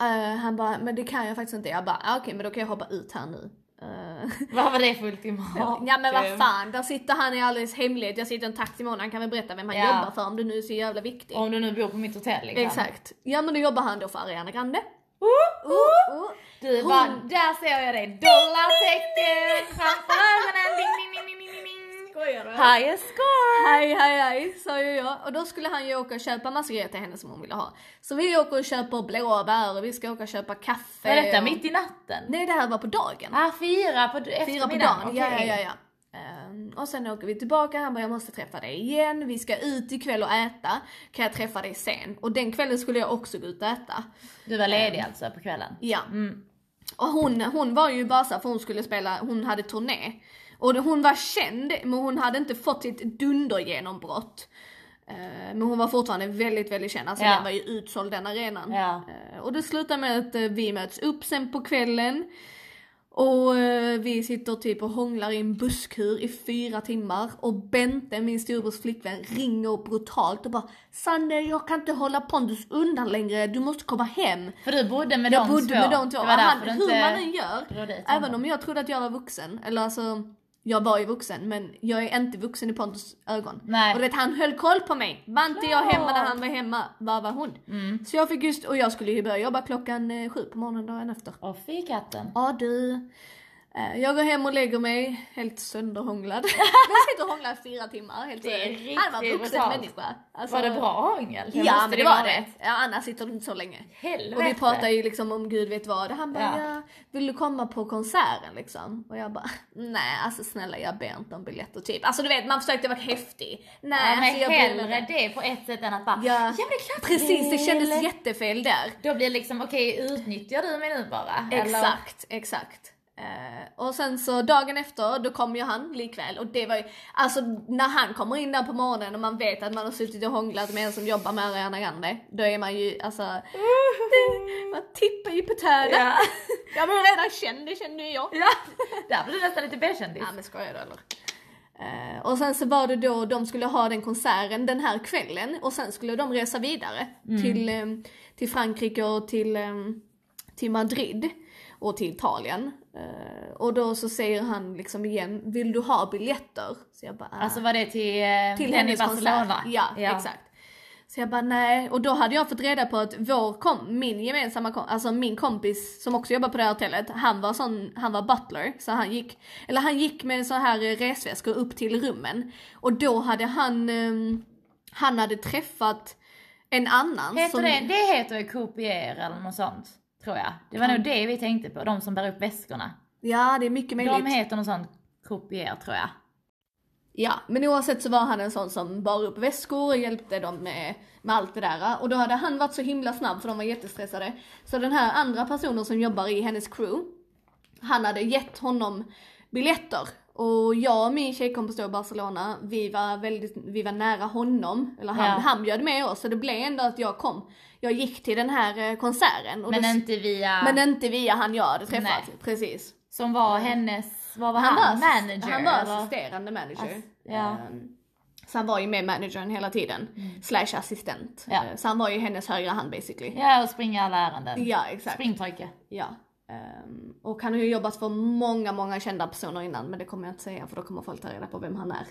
[SPEAKER 2] Eh, han bara, men det kan jag faktiskt inte. Jag bara, ah, okej men då kan jag hoppa ut här nu. Eh,
[SPEAKER 1] Vad var det för ultimat? Typ.
[SPEAKER 2] ja men vad fan, där sitter han i alldeles hemlighet. Jag sitter i en taxi med honom, han kan väl berätta vem han
[SPEAKER 1] Ja.
[SPEAKER 2] jobbar för om det nu är så jävla viktigt.
[SPEAKER 1] Om du nu bor på mitt hotell liksom.
[SPEAKER 2] Exakt. Ja men då jobbar han då för Ariana Grande.
[SPEAKER 1] Oh, oh.
[SPEAKER 2] Oh.
[SPEAKER 1] Du
[SPEAKER 2] Hon-
[SPEAKER 1] bara, där ser jag dig. Dollartecken framför ögonen. Ding, ding, ding, ding, ding, ding.
[SPEAKER 2] Skojar du?
[SPEAKER 1] Highest score.
[SPEAKER 2] Hej hej hej sa ju jag och då skulle han ju åka och köpa massa grejer till henne som hon ville ha. Så vi åker och köper blåbär och vi ska åka och köpa kaffe.
[SPEAKER 1] Var detta
[SPEAKER 2] och...
[SPEAKER 1] mitt i natten?
[SPEAKER 2] Nej det här var på dagen.
[SPEAKER 1] Ah, fyra på
[SPEAKER 2] Fyra på
[SPEAKER 1] eftermiddagen.
[SPEAKER 2] dagen,
[SPEAKER 1] okej.
[SPEAKER 2] ja ja ja. ja. Ehm, och sen åker vi tillbaka, han bara jag måste träffa dig igen, vi ska ut ikväll och äta, kan jag träffa dig sen? Och den kvällen skulle jag också gå ut och äta.
[SPEAKER 1] Du var ledig alltså på kvällen?
[SPEAKER 2] Ja.
[SPEAKER 1] Mm.
[SPEAKER 2] Och hon, hon var ju bara så här, för hon skulle spela, hon hade turné. Och hon var känd men hon hade inte fått sitt dundergenombrott. Eh, Men hon var fortfarande väldigt, väldigt känd. Alltså
[SPEAKER 1] Ja.
[SPEAKER 2] den var ju utsåld den arenan.
[SPEAKER 1] Ja.
[SPEAKER 2] Eh, Och det slutar med att eh, vi möts upp sen på kvällen. Och eh, vi sitter typ och hånglar i en busskur i fyra timmar och Bente, min storebrors flickvän, ringer brutalt och bara “Sanne, jag kan inte hålla Pontus undan längre, du måste komma hem”.
[SPEAKER 1] För du bodde med
[SPEAKER 2] Jag
[SPEAKER 1] de
[SPEAKER 2] bodde
[SPEAKER 1] två?
[SPEAKER 2] med de två.
[SPEAKER 1] Det var
[SPEAKER 2] Han,
[SPEAKER 1] därför du
[SPEAKER 2] hur man
[SPEAKER 1] inte...
[SPEAKER 2] nu gör,
[SPEAKER 1] drar dit
[SPEAKER 2] även
[SPEAKER 1] honom.
[SPEAKER 2] om jag trodde att jag var vuxen, eller alltså jag var ju vuxen men jag är inte vuxen i Pontus ögon.
[SPEAKER 1] Nej.
[SPEAKER 2] Och du vet han höll koll på mig. Var inte jag hemma när
[SPEAKER 1] Klart.
[SPEAKER 2] han var hemma, var var hon?
[SPEAKER 1] Mm.
[SPEAKER 2] Så jag fick just, och jag skulle ju börja jobba klockan eh, sju på morgonen dagen efter.
[SPEAKER 1] Och fy katten.
[SPEAKER 2] Ja du. Eh, Jag går hem och lägger mig, helt sönderhånglad. jag sitter och hånglar i fyra timmar helt
[SPEAKER 1] Det är riktigt
[SPEAKER 2] sönderhånglad. Han var en vuxen
[SPEAKER 1] brutalt.
[SPEAKER 2] människa. Alltså-
[SPEAKER 1] Var det bra hångel?
[SPEAKER 2] Ja men det var det. Ja, annars sitter du inte så länge.
[SPEAKER 1] Helvete.
[SPEAKER 2] Och vi pratar ju liksom om gud vet vad. Han bara, ja.
[SPEAKER 1] Ja.
[SPEAKER 2] vill du komma på konserten liksom? Och jag bara, nej alltså snälla jag ber inte om biljetter typ. Alltså du vet man försökte vara häftig. Nej
[SPEAKER 1] Ja, men
[SPEAKER 2] alltså, jag bryr mig
[SPEAKER 1] hellre
[SPEAKER 2] inte.
[SPEAKER 1] det på ett sätt än att bara
[SPEAKER 2] Ja.
[SPEAKER 1] men det är klart
[SPEAKER 2] Precis det
[SPEAKER 1] Eller-
[SPEAKER 2] kändes jättefel där.
[SPEAKER 1] Då blir det liksom okej utnyttjar du mig nu bara? Eller?
[SPEAKER 2] Exakt, exakt. Eh, och sen så dagen efter då kom ju han likväl och det var ju, alltså när han kommer in där på morgonen och man vet att man har suttit och hånglat med en som jobbar med Ariana Grande, då är man ju alltså, man tippar ju på tärna.
[SPEAKER 1] Ja.
[SPEAKER 2] Jag var ju redan känd, det kände ju jag.
[SPEAKER 1] ja. Där blir du nästan lite B-kändis.
[SPEAKER 2] Ja men skojar du eller? Eh, och sen så var det då de skulle ha den konserten den här kvällen och sen skulle de resa vidare till, ehm, till Frankrike och till, ehm, till Madrid och till Italien. Eh, och då så säger han liksom igen, vill du ha biljetter? Så jag bara, "Ah."
[SPEAKER 1] Alltså var det till, eh,
[SPEAKER 2] till
[SPEAKER 1] den
[SPEAKER 2] hennes
[SPEAKER 1] i Barcelona?
[SPEAKER 2] konsert. Ja, exakt. Så jag bara nej, och då hade jag fått reda på att vår kom, min gemensamma kom, alltså min kompis som också jobbar på det här hotellet, han var sån, han var butler, så han gick, eller han gick med så här eh, resväskor upp till rummen. Och då hade han, ehm, han hade träffat en annan
[SPEAKER 1] Heter
[SPEAKER 2] som...
[SPEAKER 1] det, det heter ju Coupier eller något sånt. Tror jag. Det var nog det vi tänkte på, de som bär upp väskorna.
[SPEAKER 2] Ja, det är mycket möjligt.
[SPEAKER 1] De heter något sånt Coupier tror jag.
[SPEAKER 2] Ja, men oavsett så var han en sån som bar upp väskor och hjälpte dem med, med allt det där. Och då hade han varit så himla snabb för de var jättestressade. Så den här andra personen som jobbar i hennes crew, han hade gett honom biljetter. Och jag och min tjejkompis då i Barcelona, vi var, väldigt, vi var nära honom. Eller han,
[SPEAKER 1] Ja.
[SPEAKER 2] han bjöd med oss så det blev ändå att jag kom. Jag gick till den här eh, konserten. Och
[SPEAKER 1] Men
[SPEAKER 2] då,
[SPEAKER 1] inte via,
[SPEAKER 2] men eh, inte via han jag hade träffat.
[SPEAKER 1] Nej.
[SPEAKER 2] Precis.
[SPEAKER 1] som var hennes, vad var han?
[SPEAKER 2] Han var,
[SPEAKER 1] manager?
[SPEAKER 2] han var
[SPEAKER 1] eller?
[SPEAKER 2] assisterande manager.
[SPEAKER 1] Ass- ja. Mm.
[SPEAKER 2] Ehm, Så han var ju med managern hela tiden. Slash assistent.
[SPEAKER 1] Ja.
[SPEAKER 2] Ehm, Så han var ju hennes högra hand basically.
[SPEAKER 1] Ja, och springa alla ärenden.
[SPEAKER 2] Ja exakt.
[SPEAKER 1] Springpojke.
[SPEAKER 2] Ja. Ehm, Och han har ju jobbat för många, många kända personer innan men det kommer jag inte säga för då kommer folk ta reda på vem han är.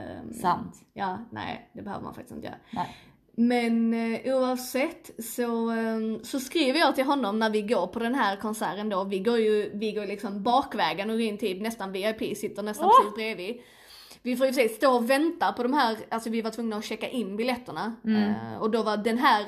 [SPEAKER 2] Ehm,
[SPEAKER 1] Sant.
[SPEAKER 2] Ja, nej det behöver man faktiskt inte göra.
[SPEAKER 1] Nej.
[SPEAKER 2] Men eh, oavsett så, eh, så skriver jag till honom när vi går på den här konserten då. Vi går ju vi går liksom bakvägen och går in typ nästan VIP, sitter nästan
[SPEAKER 1] Åh!
[SPEAKER 2] precis bredvid. Vi får i och för sig stå och vänta på de här, alltså vi var tvungna att checka in biljetterna.
[SPEAKER 1] Mm.
[SPEAKER 2] Eh, och då var den här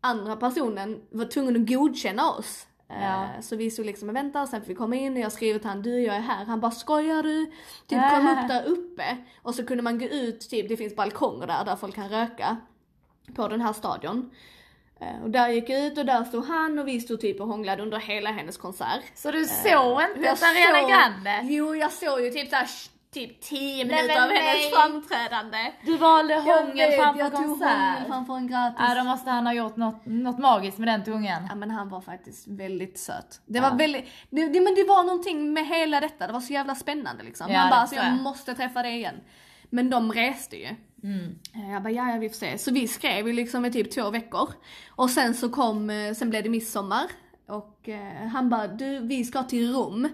[SPEAKER 2] andra personen var tvungen att godkänna oss. Eh,
[SPEAKER 1] Ja.
[SPEAKER 2] Så vi stod liksom och väntade, sen fick vi komma in och jag skrev till han du jag är här. Han bara skojar du? Typ kom upp där uppe. Och så kunde man gå ut, typ det finns balkonger där, där folk kan röka på den här stadion. Eh, Och där gick jag ut och där stod han och vi stod typ och hånglade under hela hennes konsert.
[SPEAKER 1] Så du Eh, såg inte
[SPEAKER 2] Jag
[SPEAKER 1] Ariana
[SPEAKER 2] såg-
[SPEAKER 1] Grande?
[SPEAKER 2] Jo jag såg ju typ såhär
[SPEAKER 3] typ 10
[SPEAKER 1] Nej,
[SPEAKER 3] minuter
[SPEAKER 1] men
[SPEAKER 3] av hennes
[SPEAKER 1] nej.
[SPEAKER 3] framträdande.
[SPEAKER 1] Du valde
[SPEAKER 2] Jag
[SPEAKER 1] hångel
[SPEAKER 2] vet,
[SPEAKER 1] framför
[SPEAKER 2] jag tog
[SPEAKER 1] konsert.
[SPEAKER 2] hångel framför en gratis.
[SPEAKER 1] Ja, då måste han ha gjort något, något magiskt med den tungan.
[SPEAKER 2] Ja men han var faktiskt väldigt söt. Det
[SPEAKER 1] Ja.
[SPEAKER 2] var väldigt, det, det, men det var någonting med hela detta, det var så jävla spännande liksom.
[SPEAKER 1] Ja,
[SPEAKER 2] han bara
[SPEAKER 1] det
[SPEAKER 2] alltså,
[SPEAKER 1] tror
[SPEAKER 2] jag
[SPEAKER 1] jag."
[SPEAKER 2] måste träffa dig igen. Men de reste ju. Eh,
[SPEAKER 1] Mm.
[SPEAKER 2] Jag bara ja, ja vi får se. Så vi skrev ju liksom i typ två veckor. Och sen så kom, eh, sen blev det midsommar. Och eh, han bara du vi ska till Rom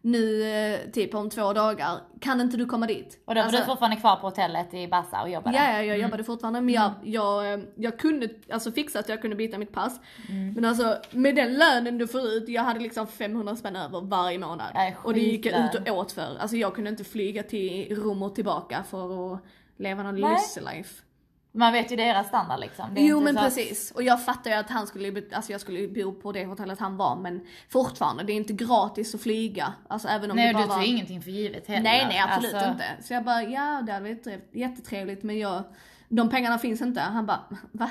[SPEAKER 2] nu eh, typ om två dagar. Kan inte du komma dit?
[SPEAKER 1] Och då var
[SPEAKER 2] Alltså-
[SPEAKER 1] du fortfarande kvar på hotellet i Bassa och jobbade?
[SPEAKER 2] Ja, ja, jag jobbade fortfarande men jag,
[SPEAKER 1] Mm.
[SPEAKER 2] jag, eh, jag kunde alltså, fixa att jag kunde byta mitt pass.
[SPEAKER 1] Mm.
[SPEAKER 2] Men alltså med den lönen du får ut, jag hade liksom 500 spänn över varje månad.
[SPEAKER 1] Nej,
[SPEAKER 2] och det gick jag ut
[SPEAKER 1] skitlön.
[SPEAKER 2] och åt för. Alltså jag kunde inte flyga till Rom och tillbaka för att leva någon
[SPEAKER 1] Nej.
[SPEAKER 2] lysselife.
[SPEAKER 1] Man vet ju deras standard liksom. Det är
[SPEAKER 2] Jo
[SPEAKER 1] inte
[SPEAKER 2] men
[SPEAKER 1] så att-
[SPEAKER 2] precis. Och jag fattar ju att han skulle, be- alltså jag skulle bo på det hotellet han var men fortfarande, det är inte gratis att flyga. Alltså även om
[SPEAKER 1] Nej
[SPEAKER 2] det
[SPEAKER 1] och
[SPEAKER 2] bara
[SPEAKER 1] du
[SPEAKER 2] var...
[SPEAKER 1] tog ingenting för givet heller.
[SPEAKER 2] Nej nej absolut
[SPEAKER 1] Alltså,
[SPEAKER 2] inte. Så jag bara ja det hade varit trev- jättetrevligt men jag, de pengarna finns inte. Han bara va? Nej,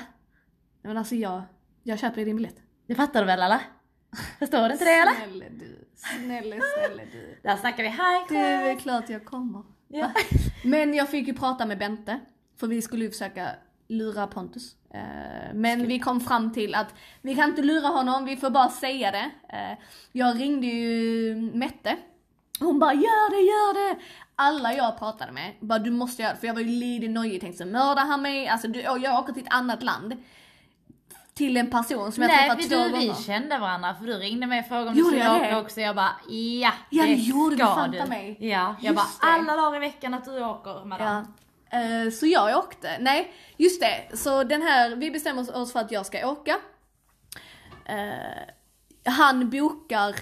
[SPEAKER 2] Men alltså jag, jag köper ju din biljett.
[SPEAKER 1] Det fattar du väl alla? Förstår du inte det eller?
[SPEAKER 2] Snälla du, snälla snälla du.
[SPEAKER 1] Där snackar vi high
[SPEAKER 2] Det är
[SPEAKER 1] class.
[SPEAKER 2] väl klart jag kommer.
[SPEAKER 1] Ja.
[SPEAKER 2] Men jag fick ju prata med Bente, för vi skulle ju försöka lura Pontus. Eh, Men vi kom fram till att vi kan inte lura honom, vi får bara säga det. Eh, Jag ringde ju Mette. Hon bara gör det, gör det! Alla jag pratade med bara du måste göra det, för jag var ju lite nojig tänkte så mördar han mig? Alltså du, och jag åker till ett annat land. Till en person som jag
[SPEAKER 1] Nej
[SPEAKER 2] träffat
[SPEAKER 1] vi,
[SPEAKER 2] två
[SPEAKER 1] du,
[SPEAKER 2] gånger.
[SPEAKER 1] vi kände varandra för du ringde mig och frågade om
[SPEAKER 2] Gjorde
[SPEAKER 1] du
[SPEAKER 2] jag
[SPEAKER 1] skulle åka
[SPEAKER 2] det?
[SPEAKER 1] också. Jag bara ja,
[SPEAKER 2] Ja, det gjorde du,
[SPEAKER 1] ska
[SPEAKER 2] fan ta mig.
[SPEAKER 1] Ja, jag
[SPEAKER 2] Just
[SPEAKER 1] bara
[SPEAKER 2] det.
[SPEAKER 1] alla dagar i veckan att du åker madam.
[SPEAKER 2] Ja. Eh, Så jag åkte, nej just det, så den här, vi bestämmer oss för att jag ska åka. Eh, han bokar...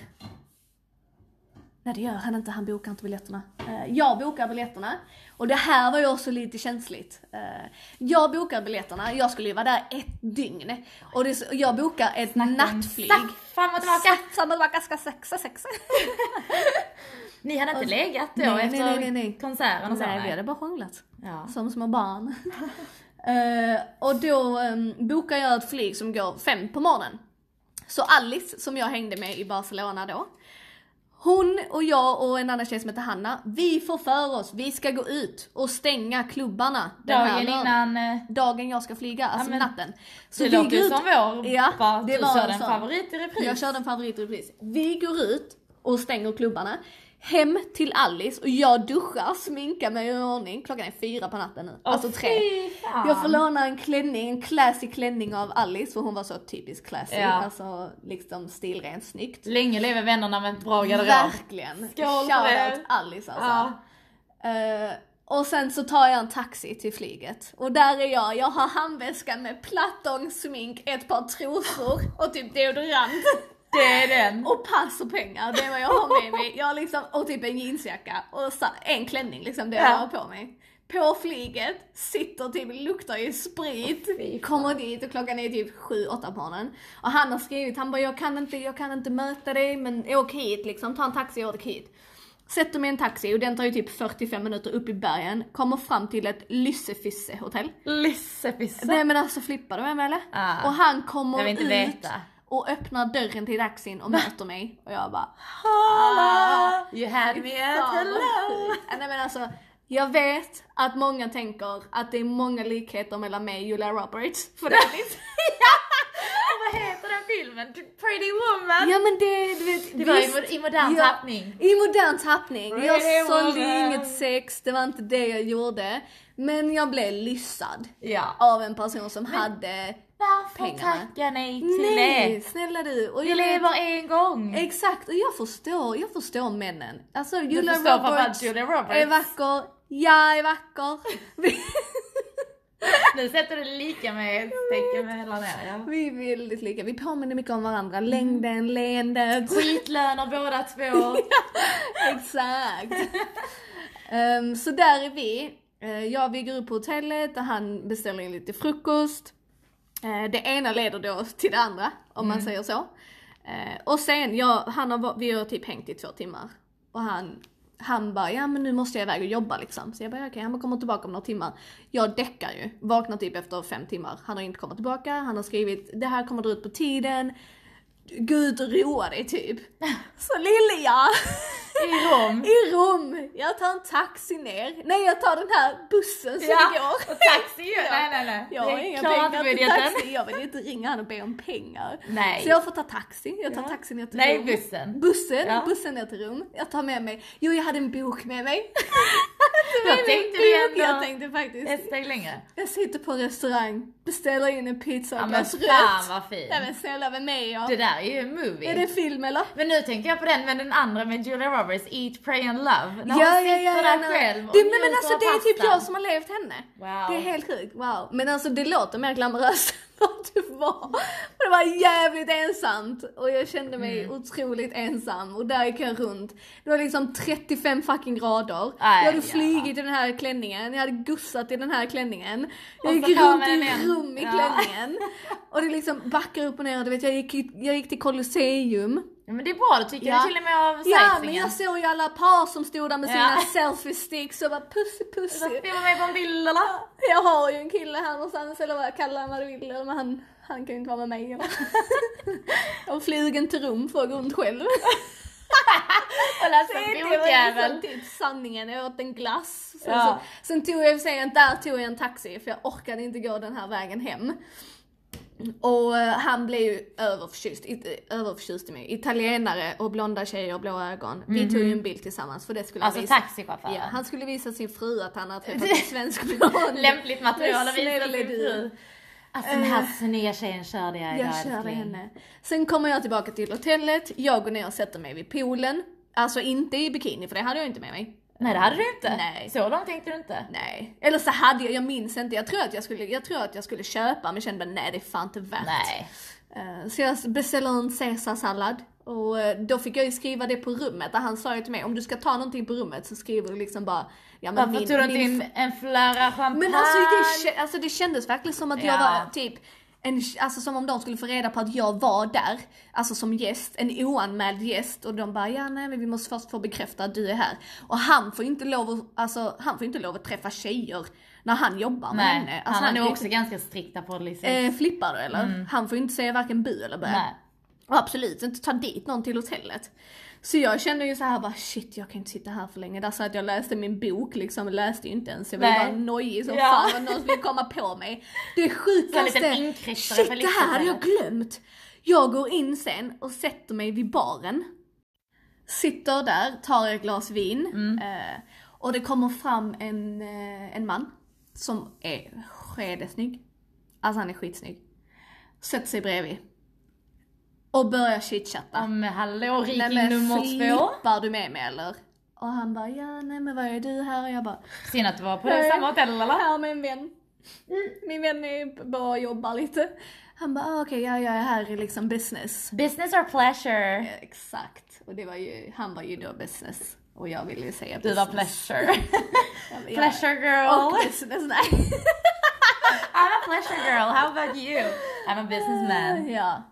[SPEAKER 2] Nej det gör han inte, han bokar inte biljetterna. Eh, jag bokar biljetterna. Och det här var ju också lite känsligt. Eh, jag bokar biljetterna, jag skulle ju vara där ett dygn. Och det, och jag bokar ett nattflyg.
[SPEAKER 1] Fram och tillbaka.
[SPEAKER 2] Samma tillbaka, ska sexa, sexa.
[SPEAKER 1] Ni hade inte legat då
[SPEAKER 2] nej, Alltså, nej,
[SPEAKER 1] efter
[SPEAKER 2] nej, nej, nej.
[SPEAKER 1] konserten och så?
[SPEAKER 2] Nej vi hade bara hånglat.
[SPEAKER 1] Ja.
[SPEAKER 2] Som små barn. Eh, och då um, bokar jag ett flyg som går fem på morgonen. Så Alice, som jag hängde med i Barcelona då. Hon och jag och en annan tjej som heter Hanna, vi får för oss, vi ska gå ut och stänga klubbarna den här
[SPEAKER 1] Dagen
[SPEAKER 2] lördagen.
[SPEAKER 1] innan. eh,
[SPEAKER 2] Dagen jag ska flyga, alltså
[SPEAKER 1] men-
[SPEAKER 2] natten. Så
[SPEAKER 1] Det
[SPEAKER 2] vi
[SPEAKER 1] låter
[SPEAKER 2] går
[SPEAKER 1] ju
[SPEAKER 2] ut-
[SPEAKER 1] som vår.
[SPEAKER 2] Ja,
[SPEAKER 1] bara, typ
[SPEAKER 2] det
[SPEAKER 1] du
[SPEAKER 2] var
[SPEAKER 1] körde
[SPEAKER 2] en
[SPEAKER 1] en
[SPEAKER 2] sån.
[SPEAKER 1] favorit i repris.
[SPEAKER 2] Jag körde en favorit i repris. Vi går ut och stänger klubbarna. Hem till Alice och jag duschar, sminkar mig och gör i ordning. Klockan är fyra på natten nu.
[SPEAKER 1] Åh,
[SPEAKER 2] alltså tre.
[SPEAKER 1] fy fan.
[SPEAKER 2] Jag får låna en klänning, en classy klänning av Alice för hon var så typisk classy.
[SPEAKER 1] Ja.
[SPEAKER 2] Alltså liksom stilrent, snyggt.
[SPEAKER 1] Länge lever vännerna med en bra garderob.
[SPEAKER 2] Verkligen.
[SPEAKER 1] Skål för
[SPEAKER 2] Shoutout
[SPEAKER 1] det.
[SPEAKER 2] Alice alltså.
[SPEAKER 1] Ja.
[SPEAKER 2] Eh, och sen så tar jag en taxi till flyget. Och där är jag, jag har handväska med plattång, smink, ett par trosor och typ deodorant.
[SPEAKER 1] Det är den.
[SPEAKER 2] Och pass och pengar, det är vad jag har med mig. Jag har liksom, och typ en jeansjacka och sa- en klänning liksom, det jag
[SPEAKER 1] Ja.
[SPEAKER 2] har på mig. På flyget, sitter typ, luktar ju sprit,
[SPEAKER 1] fy fan.
[SPEAKER 2] kommer dit och klockan är typ 7-8 på morgonen. Och han har skrivit, han bara jag kan inte, jag kan inte möta dig men åk hit liksom, ta en taxi och åk hit. Sätter mig i en taxi och den tar ju typ 45 minuter upp i bergen, kommer fram till ett Lyssefysse hotell.
[SPEAKER 1] Lissepisse.
[SPEAKER 2] Nej men alltså flippar du med mig eller?
[SPEAKER 1] Ah.
[SPEAKER 2] Och han kommer
[SPEAKER 1] Jag vill inte
[SPEAKER 2] ut
[SPEAKER 1] veta.
[SPEAKER 2] och öppnar dörren till taxin och möter mig och jag bara
[SPEAKER 1] Hallå!
[SPEAKER 2] Ah.
[SPEAKER 1] You had me at
[SPEAKER 2] Fan, vad
[SPEAKER 1] hello!
[SPEAKER 2] sjukt. Nej men alltså, jag vet att många tänker att det är många likheter mellan mig och Julia Roberts. För det är lite...
[SPEAKER 1] Vad heter den filmen? Pretty woman!
[SPEAKER 2] ja men det, du vet.
[SPEAKER 1] det var i,
[SPEAKER 2] visst,
[SPEAKER 1] mo- i modern
[SPEAKER 2] ja,
[SPEAKER 1] tappning.
[SPEAKER 2] I modern tappning.
[SPEAKER 1] Really
[SPEAKER 2] Jag sålde
[SPEAKER 1] modern.
[SPEAKER 2] inget sex, det var inte det jag gjorde. Men jag blev lyssad
[SPEAKER 1] Ja.
[SPEAKER 2] av en person som hade...
[SPEAKER 1] Varför
[SPEAKER 2] pengarna.
[SPEAKER 1] tacka nej till
[SPEAKER 2] Nej,
[SPEAKER 1] det?
[SPEAKER 2] snälla du. Och
[SPEAKER 1] Vi
[SPEAKER 2] jag vet-
[SPEAKER 1] lever en gång.
[SPEAKER 2] Exakt, och jag förstår, jag förstår männen. Alltså Julia
[SPEAKER 1] förstår framförallt
[SPEAKER 2] Roberts,
[SPEAKER 1] Julia Roberts.
[SPEAKER 2] är vacker, jag är vacker. Vi,
[SPEAKER 1] Nu sätter du lika med ett tecken mellan er. ja.
[SPEAKER 2] vi är väldigt lika, vi påminner mycket om varandra.
[SPEAKER 1] Mm.
[SPEAKER 2] Längden, leendet.
[SPEAKER 1] Skitlöner båda två.
[SPEAKER 2] Exakt. Ehm, så där är vi. Eh, jag vi går upp på hotellet och han beställer in lite frukost. Eh, det ena leder då till det andra, om man säger så. Eh, och sen, jag, han har, va- vi har typ hängt i två timmar. Och han, han bara, ja men nu måste jag iväg och jobba liksom. Så jag bara, okej, han bara kommer tillbaka om några timmar. Jag däckar ju, vaknar typ efter fem timmar. Han har inte kommit tillbaka, han har skrivit, det här kommer dra ut på tiden. Gå ut och roa dig typ. Så lille jag!
[SPEAKER 1] I Rom.
[SPEAKER 2] I Rom! Jag tar en taxi ner. Nej jag tar den här bussen som går.
[SPEAKER 1] och taxi ju.
[SPEAKER 2] Ja.
[SPEAKER 1] Nej nej nej.
[SPEAKER 2] Jag har inga
[SPEAKER 1] klarar
[SPEAKER 2] pengar
[SPEAKER 1] inte
[SPEAKER 2] till
[SPEAKER 1] budgeten.
[SPEAKER 2] taxi. Jag vill inte ringa han och be om pengar.
[SPEAKER 1] Nej.
[SPEAKER 2] Så jag får ta taxi. Jag tar
[SPEAKER 1] Ja.
[SPEAKER 2] taxi ner till
[SPEAKER 1] Nej
[SPEAKER 2] Rom.
[SPEAKER 1] bussen.
[SPEAKER 2] Bussen,
[SPEAKER 1] Ja.
[SPEAKER 2] bussen ner till Rom. Jag tar med mig, jo jag hade en bok med mig.
[SPEAKER 1] Då
[SPEAKER 2] Min
[SPEAKER 1] tänkte
[SPEAKER 2] bok,
[SPEAKER 1] vi ändå
[SPEAKER 2] Jag tänkte faktiskt.
[SPEAKER 1] ett steg längre.
[SPEAKER 2] Jag sitter på en restaurang, beställer in en pizza och
[SPEAKER 1] Ja
[SPEAKER 2] ett
[SPEAKER 1] men
[SPEAKER 2] glas rött.
[SPEAKER 1] fan vad
[SPEAKER 2] Nej
[SPEAKER 1] fint.
[SPEAKER 2] men snälla, vem är jag?
[SPEAKER 1] Det där är ju en
[SPEAKER 2] Är
[SPEAKER 1] movie.
[SPEAKER 2] det film eller?
[SPEAKER 1] Men nu tänker jag på den med den andra med Julia Roberts, Eat, Pray and Love. När hon sitter där
[SPEAKER 2] nej.
[SPEAKER 1] själv och
[SPEAKER 2] det, nej, men
[SPEAKER 1] njuter
[SPEAKER 2] alltså
[SPEAKER 1] av
[SPEAKER 2] det är typ
[SPEAKER 1] pastan.
[SPEAKER 2] jag som har levt henne.
[SPEAKER 1] Wow.
[SPEAKER 2] Det är helt sjukt, wow. Men alltså det låter mer glamoröst än vad det var. Och det var jävligt ensamt och jag kände mig
[SPEAKER 1] Mm.
[SPEAKER 2] otroligt ensam och där gick jag runt. Det var liksom 35 fucking grader.
[SPEAKER 1] Nej,
[SPEAKER 2] jag hade
[SPEAKER 1] jävlar.
[SPEAKER 2] flugit i den här klänningen, jag hade gussat i den här klänningen. Jag
[SPEAKER 1] Och
[SPEAKER 2] gick
[SPEAKER 1] så tar
[SPEAKER 2] runt
[SPEAKER 1] man
[SPEAKER 2] i
[SPEAKER 1] den igen.
[SPEAKER 2] rum i
[SPEAKER 1] Ja.
[SPEAKER 2] klänningen. Och det liksom backar upp och ner och du vet jag gick, jag gick till Colosseum.
[SPEAKER 1] Ja, men det är bra, då tycker
[SPEAKER 2] Ja.
[SPEAKER 1] du till och med av
[SPEAKER 2] Ja men
[SPEAKER 1] sightseeingen.
[SPEAKER 2] jag såg ju alla par som stod där med sina
[SPEAKER 1] Ja.
[SPEAKER 2] selfie sticks och bara pussy
[SPEAKER 1] Så
[SPEAKER 2] pussy.
[SPEAKER 1] filma mig på en bild eller?
[SPEAKER 2] Jag har ju en kille här någonstans eller vad kalla honom vad du vill men han, han kan ju inte vara med mig eller. och flygen till Rom får gå runt själv.
[SPEAKER 1] Och läsa en
[SPEAKER 2] Det var liksom
[SPEAKER 1] bokjävel.
[SPEAKER 2] typ sanningen, jag åt en glass. Sen,
[SPEAKER 1] Ja.
[SPEAKER 2] så, sen tog jag i och för sig, en- där tog jag en taxi för jag orkade inte gå den här vägen hem. Och eh, han blev ju överförtjust, inte överförtjust i mig. Italienare och blonda tjejer och blå ögon. Vi tog ju en bild tillsammans för det skulle
[SPEAKER 1] Mhm. Alltså
[SPEAKER 2] jag visa.
[SPEAKER 1] taxichauffören.
[SPEAKER 2] Ja, han skulle visa sin fru att han har träffat en svensk blond.
[SPEAKER 1] Lämpligt material att visa
[SPEAKER 2] Snälla
[SPEAKER 1] sin
[SPEAKER 2] du.
[SPEAKER 1] fru. Alltså den här snygga tjejen körde jag idag
[SPEAKER 2] Jag körde
[SPEAKER 1] älskling.
[SPEAKER 2] henne. Sen kommer jag tillbaka till hotellet, jag går ner och sätter mig vid poolen. Alltså inte i bikini för det hade jag inte med mig.
[SPEAKER 1] Nej det hade du inte.
[SPEAKER 2] Nej.
[SPEAKER 1] Så långt tänkte du inte.
[SPEAKER 2] Nej. Eller så hade jag, jag minns inte. Jag tror att jag skulle, jag tror att jag skulle köpa men kände bara nej det är fan inte värt.
[SPEAKER 1] Nej.
[SPEAKER 2] Eh, Så jag beställer en caesarsallad och eh, då fick jag ju skriva det på rummet. Och han sa ju till mig om du ska ta någonting på rummet så skriver du liksom bara ja, men
[SPEAKER 1] Varför tog du inte
[SPEAKER 2] min
[SPEAKER 1] in en flöra champagne?
[SPEAKER 2] Men alltså det, kä- alltså det kändes verkligen som att jag
[SPEAKER 1] Ja.
[SPEAKER 2] var typ en, alltså som om de skulle få reda på att jag var där, alltså som gäst, en oanmäld gäst och de bara ja nej men vi måste först få bekräfta att du är här. Och han får ju inte lov att, alltså han får ju inte lov att träfäffa tjejer när han jobbar med
[SPEAKER 1] Nej,
[SPEAKER 2] henne. Alltså,
[SPEAKER 1] han är nog
[SPEAKER 2] kan-
[SPEAKER 1] också ganska strikta på det liksom.
[SPEAKER 2] Eh, flippar du eller? Han får ju inte säga varken bu eller bä.
[SPEAKER 1] Nej.
[SPEAKER 2] Och absolut inte ta dit någon till hotellet. Så jag kände ju så här bara shit jag kan inte sitta här för länge. Där satt jag och läste min bok liksom, och läste ju inte ens. Jag var ju
[SPEAKER 1] Nej.
[SPEAKER 2] bara nojig som
[SPEAKER 1] Ja.
[SPEAKER 2] fan att någon skulle komma på mig. Det sjukaste,
[SPEAKER 1] liten inkräktare
[SPEAKER 2] shit
[SPEAKER 1] på
[SPEAKER 2] det här hade jag
[SPEAKER 1] livshotellet.
[SPEAKER 2] glömt. Jag går in sen och sätter mig vid baren. Sitter där, tar ett glas vin.
[SPEAKER 1] Mm.
[SPEAKER 2] Eh, och det kommer fram en, eh, en man som är skedesnygg. Alltså han är skitsnygg. Sätter sig bredvid. Och börjar chitchatta.
[SPEAKER 1] Om hallå
[SPEAKER 2] Nej
[SPEAKER 1] riking
[SPEAKER 2] men
[SPEAKER 1] Ah, nummer två.
[SPEAKER 2] flippar du med mig eller? Och han bara ja nej men vad är du här? Och jag bara
[SPEAKER 1] Synd att du var på
[SPEAKER 2] Nej.
[SPEAKER 1] det samma hotell eller?
[SPEAKER 2] här med en vän. Min vän är bara och jobbar lite. Han bara ah, okej ja, jag är här i liksom business.
[SPEAKER 1] Business or pleasure?
[SPEAKER 2] Exakt. Och det var ju, han var ju då business. Och jag ville ju säga
[SPEAKER 1] Du var
[SPEAKER 2] business.
[SPEAKER 1] pleasure.
[SPEAKER 2] pleasure.
[SPEAKER 1] pleasure
[SPEAKER 2] Och
[SPEAKER 1] girl.
[SPEAKER 2] business, nej.
[SPEAKER 1] I'm a pleasure girl, how about you? I'm a businessman.
[SPEAKER 2] Ja.